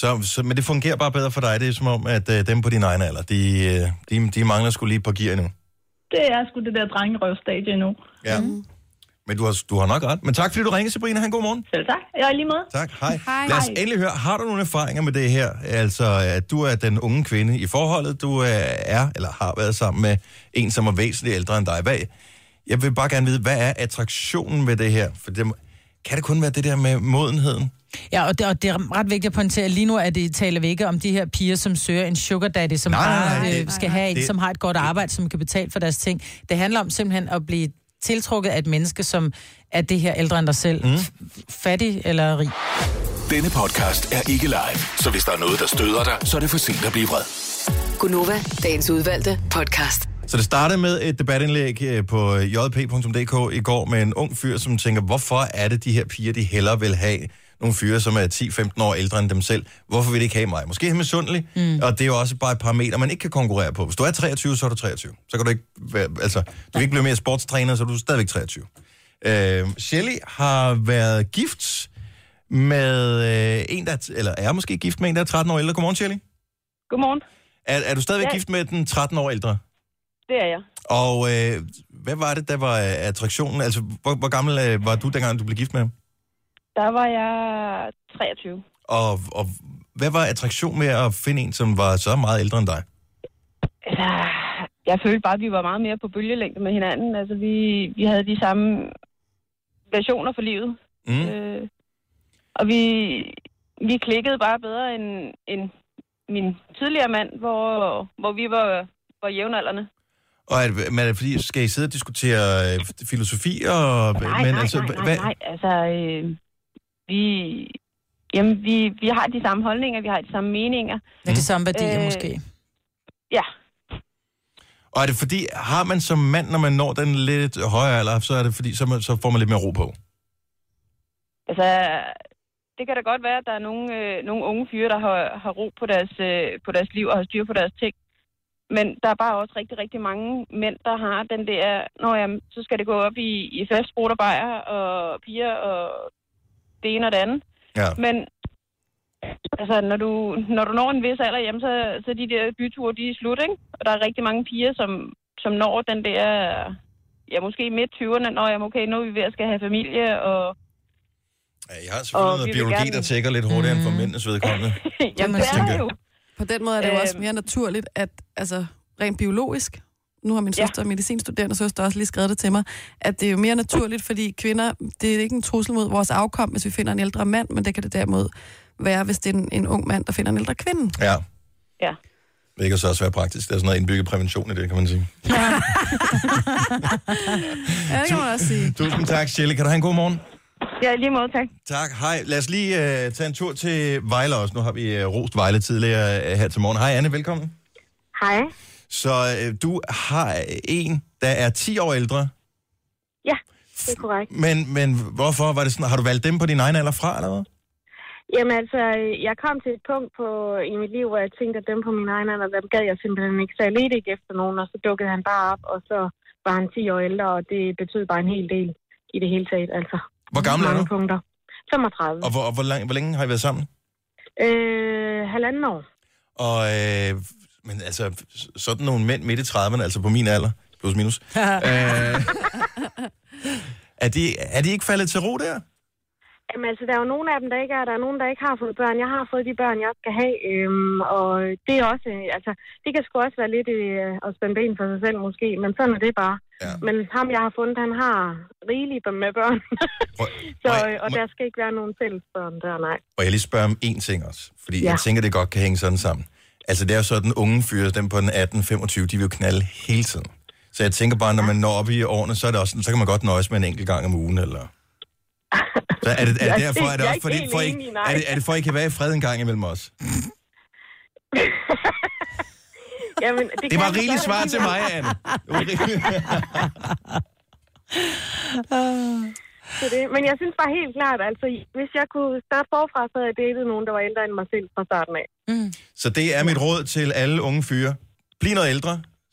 Speaker 1: Så, så, men det fungerer bare bedre for dig. Det er som om, at øh, dem på din egen alder, de, øh, de, de mangler skulle lige et par gear nu.
Speaker 7: Det er sgu det der drengerøvstadie endnu.
Speaker 1: Ja.
Speaker 4: Mhm.
Speaker 1: Mm. Men du har, du har nok ret. Men tak, fordi du ringede, Sabrina. Han god morgen.
Speaker 7: Selv tak. Jeg er lige med.
Speaker 1: Tak, hej.
Speaker 4: Hej.
Speaker 1: Lad os endelig høre, har du nogle erfaringer med det her? Altså, at du er den unge kvinde i forholdet, du øh, er eller har været sammen med en, som er væsentligt ældre end dig. Hvad, jeg vil bare gerne vide, hvad er attraktionen ved det her? For det, må- kan det kun være det der med modenheden?
Speaker 2: Ja, og det, og det er ret vigtigt at pointere, at lige nu er det, taler vi ikke om de her piger, som søger en sugar daddy, som
Speaker 1: Nej, nej,
Speaker 2: bare
Speaker 1: nej,
Speaker 2: øh,
Speaker 1: det-
Speaker 2: skal have en,
Speaker 1: det-
Speaker 2: som har et godt arbejde, som kan betale for deres ting. Det handler om simpelthen at blive tiltrukket af et menneske, som er det her ældre end dig selv. Mm. Fattig eller rig.
Speaker 5: Denne podcast er ikke live, så hvis der er noget, der støder dig, så er det for sent at blive vred.
Speaker 6: Gunova, dagens udvalgte podcast.
Speaker 1: Så det startede med et debatindlæg øh, på jp.dk i går med en ung fyr, som tænker, hvorfor er det de her piger, de hellere vil have nogle fyre, som er 10-15 år ældre end dem selv. Hvorfor vil de ikke have mig? Måske er han misundelig, mm. og det er jo også bare et parameter, man ikke kan konkurrere på. Hvis du er 23, så er du 23. Så kan du ikke, være, altså, du kan ikke blive mere sportstræner, så er du stadigvæk 23. Øh, Shelly har været gift med øh, en, der, er t- eller er måske gift med en, der er 13 år ældre. Godmorgen, Shelly.
Speaker 7: Godmorgen.
Speaker 1: Er, er du stadigvæk
Speaker 7: Ja.
Speaker 1: gift med den 13 år ældre?
Speaker 7: Det er jeg.
Speaker 1: Og øh, hvad var det, der var øh, attraktionen? Altså, hvor, hvor gammel øh, var du, dengang du blev gift med ham?
Speaker 7: Der var jeg 23.
Speaker 1: Og, og hvad var attraktionen med at finde en, som var så meget ældre end dig?
Speaker 7: Altså, jeg følte bare, at vi var meget mere på bølgelængde med hinanden. Altså, vi, vi havde de samme versioner for livet.
Speaker 1: Mm.
Speaker 7: Øh, og vi, vi klikkede bare bedre end, end min tidligere mand, hvor, hvor vi var, var jævnaldrende.
Speaker 1: Og er, det- men er det fordi, skal I sidde og diskutere øh, filosofi? Og,
Speaker 7: Nej, nej, nej, nej,
Speaker 1: hvad-
Speaker 7: nej. Altså, øh, vi, jamen, vi, vi har de samme holdninger, vi har de samme meninger.
Speaker 2: Med de samme værdier øh...
Speaker 7: Øh,
Speaker 2: måske.
Speaker 7: Ja,
Speaker 1: Og er det fordi, har man som mand, når man når den lidt højere alder, så er det fordi, så, man, så får man lidt mere ro på?
Speaker 7: Altså, det kan da godt være, at der er nogle, øh, nogle unge fyre, der har, har ro på deres, øh, på deres liv og har styr på deres ting. Men der er bare også rigtig, rigtig mange mænd, der har den der, nå jamen, så skal det gå op i, i fast og bajer og piger og det ene og det andet.
Speaker 1: Ja.
Speaker 9: Men altså, når, du, når du når en vis alder hjemme, så, så de der byture, de er slut, ikke? Og der er rigtig mange piger, som, som når den der, ja, måske midt 20'erne, når jeg okay, nu er vi ved at skal have familie, og
Speaker 1: Ja, Jeg har selvfølgelig
Speaker 9: Og
Speaker 1: noget
Speaker 9: vi vil
Speaker 1: biologi,
Speaker 9: gerne-
Speaker 1: der tækker lidt hurtigere mm. end for mændenes vedkommende.
Speaker 9: jamen, det er
Speaker 1: tænker
Speaker 9: der
Speaker 1: jeg.
Speaker 9: jo.
Speaker 4: På den måde er det jo også
Speaker 9: Øhm.
Speaker 4: mere naturligt, at altså, rent biologisk, nu har min
Speaker 9: Ja.
Speaker 4: søster, ja. medicinstuderende søster, også lige skrevet det til mig, at det er jo mere naturligt, fordi kvinder, det er ikke en trussel mod vores afkom, hvis vi finder en ældre mand, men det kan det derimod være, hvis det er en, en ung mand, der finder en ældre kvinde.
Speaker 1: Ja.
Speaker 9: Ja.
Speaker 1: Det kan så også være praktisk. Der er sådan noget indbygget prævention i det, kan man sige.
Speaker 4: Ja, det kan man også sige.
Speaker 1: Tusind tak, Sjælle. Kan du have en god morgen?
Speaker 9: Ja, i lige måde, tak.
Speaker 1: Tak. Hej. Lad os lige uh, tage en tur til Vejle også. Nu har vi uh, rost Vejle tidligere uh, her til morgen. Hej, Anne. Velkommen.
Speaker 9: Hej.
Speaker 1: Så uh, du har en, der er 10 år ældre.
Speaker 9: Ja, det er korrekt.
Speaker 1: Men, men hvorfor var det sådan? Har du valgt dem på din egen alder fra, eller hvad?
Speaker 9: Jamen altså, jeg kom til et punkt på, i mit liv, hvor jeg tænkte, at dem på min egen alder, dem gad jeg simpelthen ikke. Så jeg ledte ikke efter nogen, og så dukkede han bare op, og så var han 10 år ældre, og det betød bare en hel del i det hele taget. Altså,
Speaker 1: Hvor gammel er
Speaker 9: mange
Speaker 1: du?
Speaker 9: punkter. 35.
Speaker 1: Og hvor, og hvor, lang, hvor længe har I været sammen?
Speaker 9: Øh, halvanden år.
Speaker 1: Og, øh, men altså, sådan nogle mænd midt i 30'erne, altså på min alder, plus minus, øh, er, de, er de ikke faldet til ro der?
Speaker 9: Jamen altså, der er jo nogle af dem, der ikke er. Der er nogen, der ikke har fået børn. Jeg har fået de børn, jeg skal have. Øhm, og det er også, øh, altså, det kan sgu også være lidt øh, at spænde ben for sig selv måske, men sådan er det bare.
Speaker 1: Ja.
Speaker 9: Men ham, jeg har fundet, han har rigeligt med børn.
Speaker 1: Prøv,
Speaker 9: Så,
Speaker 1: må,
Speaker 9: øh, og
Speaker 1: må,
Speaker 9: der skal ikke være nogen fælles børn der, nej.
Speaker 1: må jeg lige spørge om én ting også? Fordi ja.
Speaker 9: Ja.
Speaker 1: jeg tænker, det godt kan hænge sådan sammen. Altså, det er jo sådan, unge fyre, dem på den 18-25, de vil jo knalde hele tiden. Så jeg tænker bare, når man når op i årene, så, er det også, sådan, så kan man godt nøjes med en enkelt gang om ugen, eller... Så er det, er det
Speaker 9: Jeg-
Speaker 1: derfor, er det
Speaker 9: jeg er
Speaker 1: også
Speaker 9: ikke
Speaker 1: fordi,
Speaker 9: helt
Speaker 1: for, I,
Speaker 9: enig, nej.
Speaker 1: er det, er det for, at I kan være i fred en gang imellem os?
Speaker 9: Jamen, det,
Speaker 1: Det
Speaker 9: kan
Speaker 1: var
Speaker 9: jeg
Speaker 1: rigeligt
Speaker 9: godt.
Speaker 1: svar til mig, Anne. Det var rigeligt.
Speaker 9: til det. Men jeg synes bare helt klart, altså, hvis jeg kunne starte forfra, så havde jeg datet nogen, der var ældre end mig selv fra starten af.
Speaker 1: Så det er mit råd til alle unge fyre. Bliv noget ældre,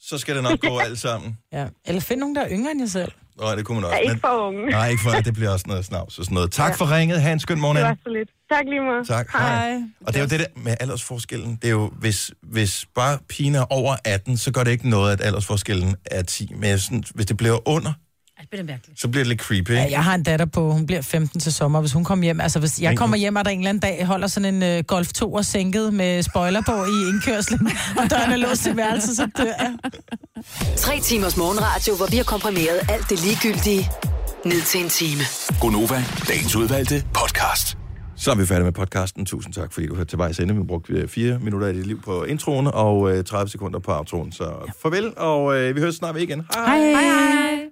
Speaker 1: så skal det nok gå alt sammen.
Speaker 2: Ja. Eller find nogen, der er yngre end jer selv.
Speaker 1: Nej, det kunne man
Speaker 9: Jeg
Speaker 1: også.
Speaker 9: er ikke for unge.
Speaker 1: Nej, ikke for, det bliver også noget snavs og sådan noget. Tak for ringet. Ha' en skøn morgen,
Speaker 9: Det var
Speaker 1: Anne.
Speaker 9: så lidt. Tak lige meget.
Speaker 1: Tak. Og det er jo det der med aldersforskellen. Det er jo, hvis, hvis bare pigen er over 18, så gør det ikke noget, at aldersforskellen er 10. Men jeg synes, hvis det bliver under,
Speaker 10: Ej, det bliver mærkeligt.
Speaker 1: så bliver det lidt creepy.
Speaker 2: Ja,
Speaker 1: Ikke?
Speaker 2: jeg har en datter på, hun bliver 15 til sommer. Hvis hun kommer hjem, altså hvis jeg
Speaker 1: Men-
Speaker 2: kommer hjem, og der en eller anden dag holder sådan en øh, Golf 2 og sænket med spoiler på i indkørslen, og døren er låst til værelset, så dør jeg.
Speaker 6: Tre timers morgenradio, hvor vi har komprimeret alt det ligegyldige ned til en time.
Speaker 5: Gonova, dagens udvalgte podcast.
Speaker 1: Så er vi færdige med podcasten. Tusind tak, fordi du hørte til vejs ende. Vi brugte øh, fire minutter af dit liv på introen og øh, 30 sekunder på outroen. Så farvel, og øh, vi høres snart ved igen. Hej!
Speaker 10: Hej, hej.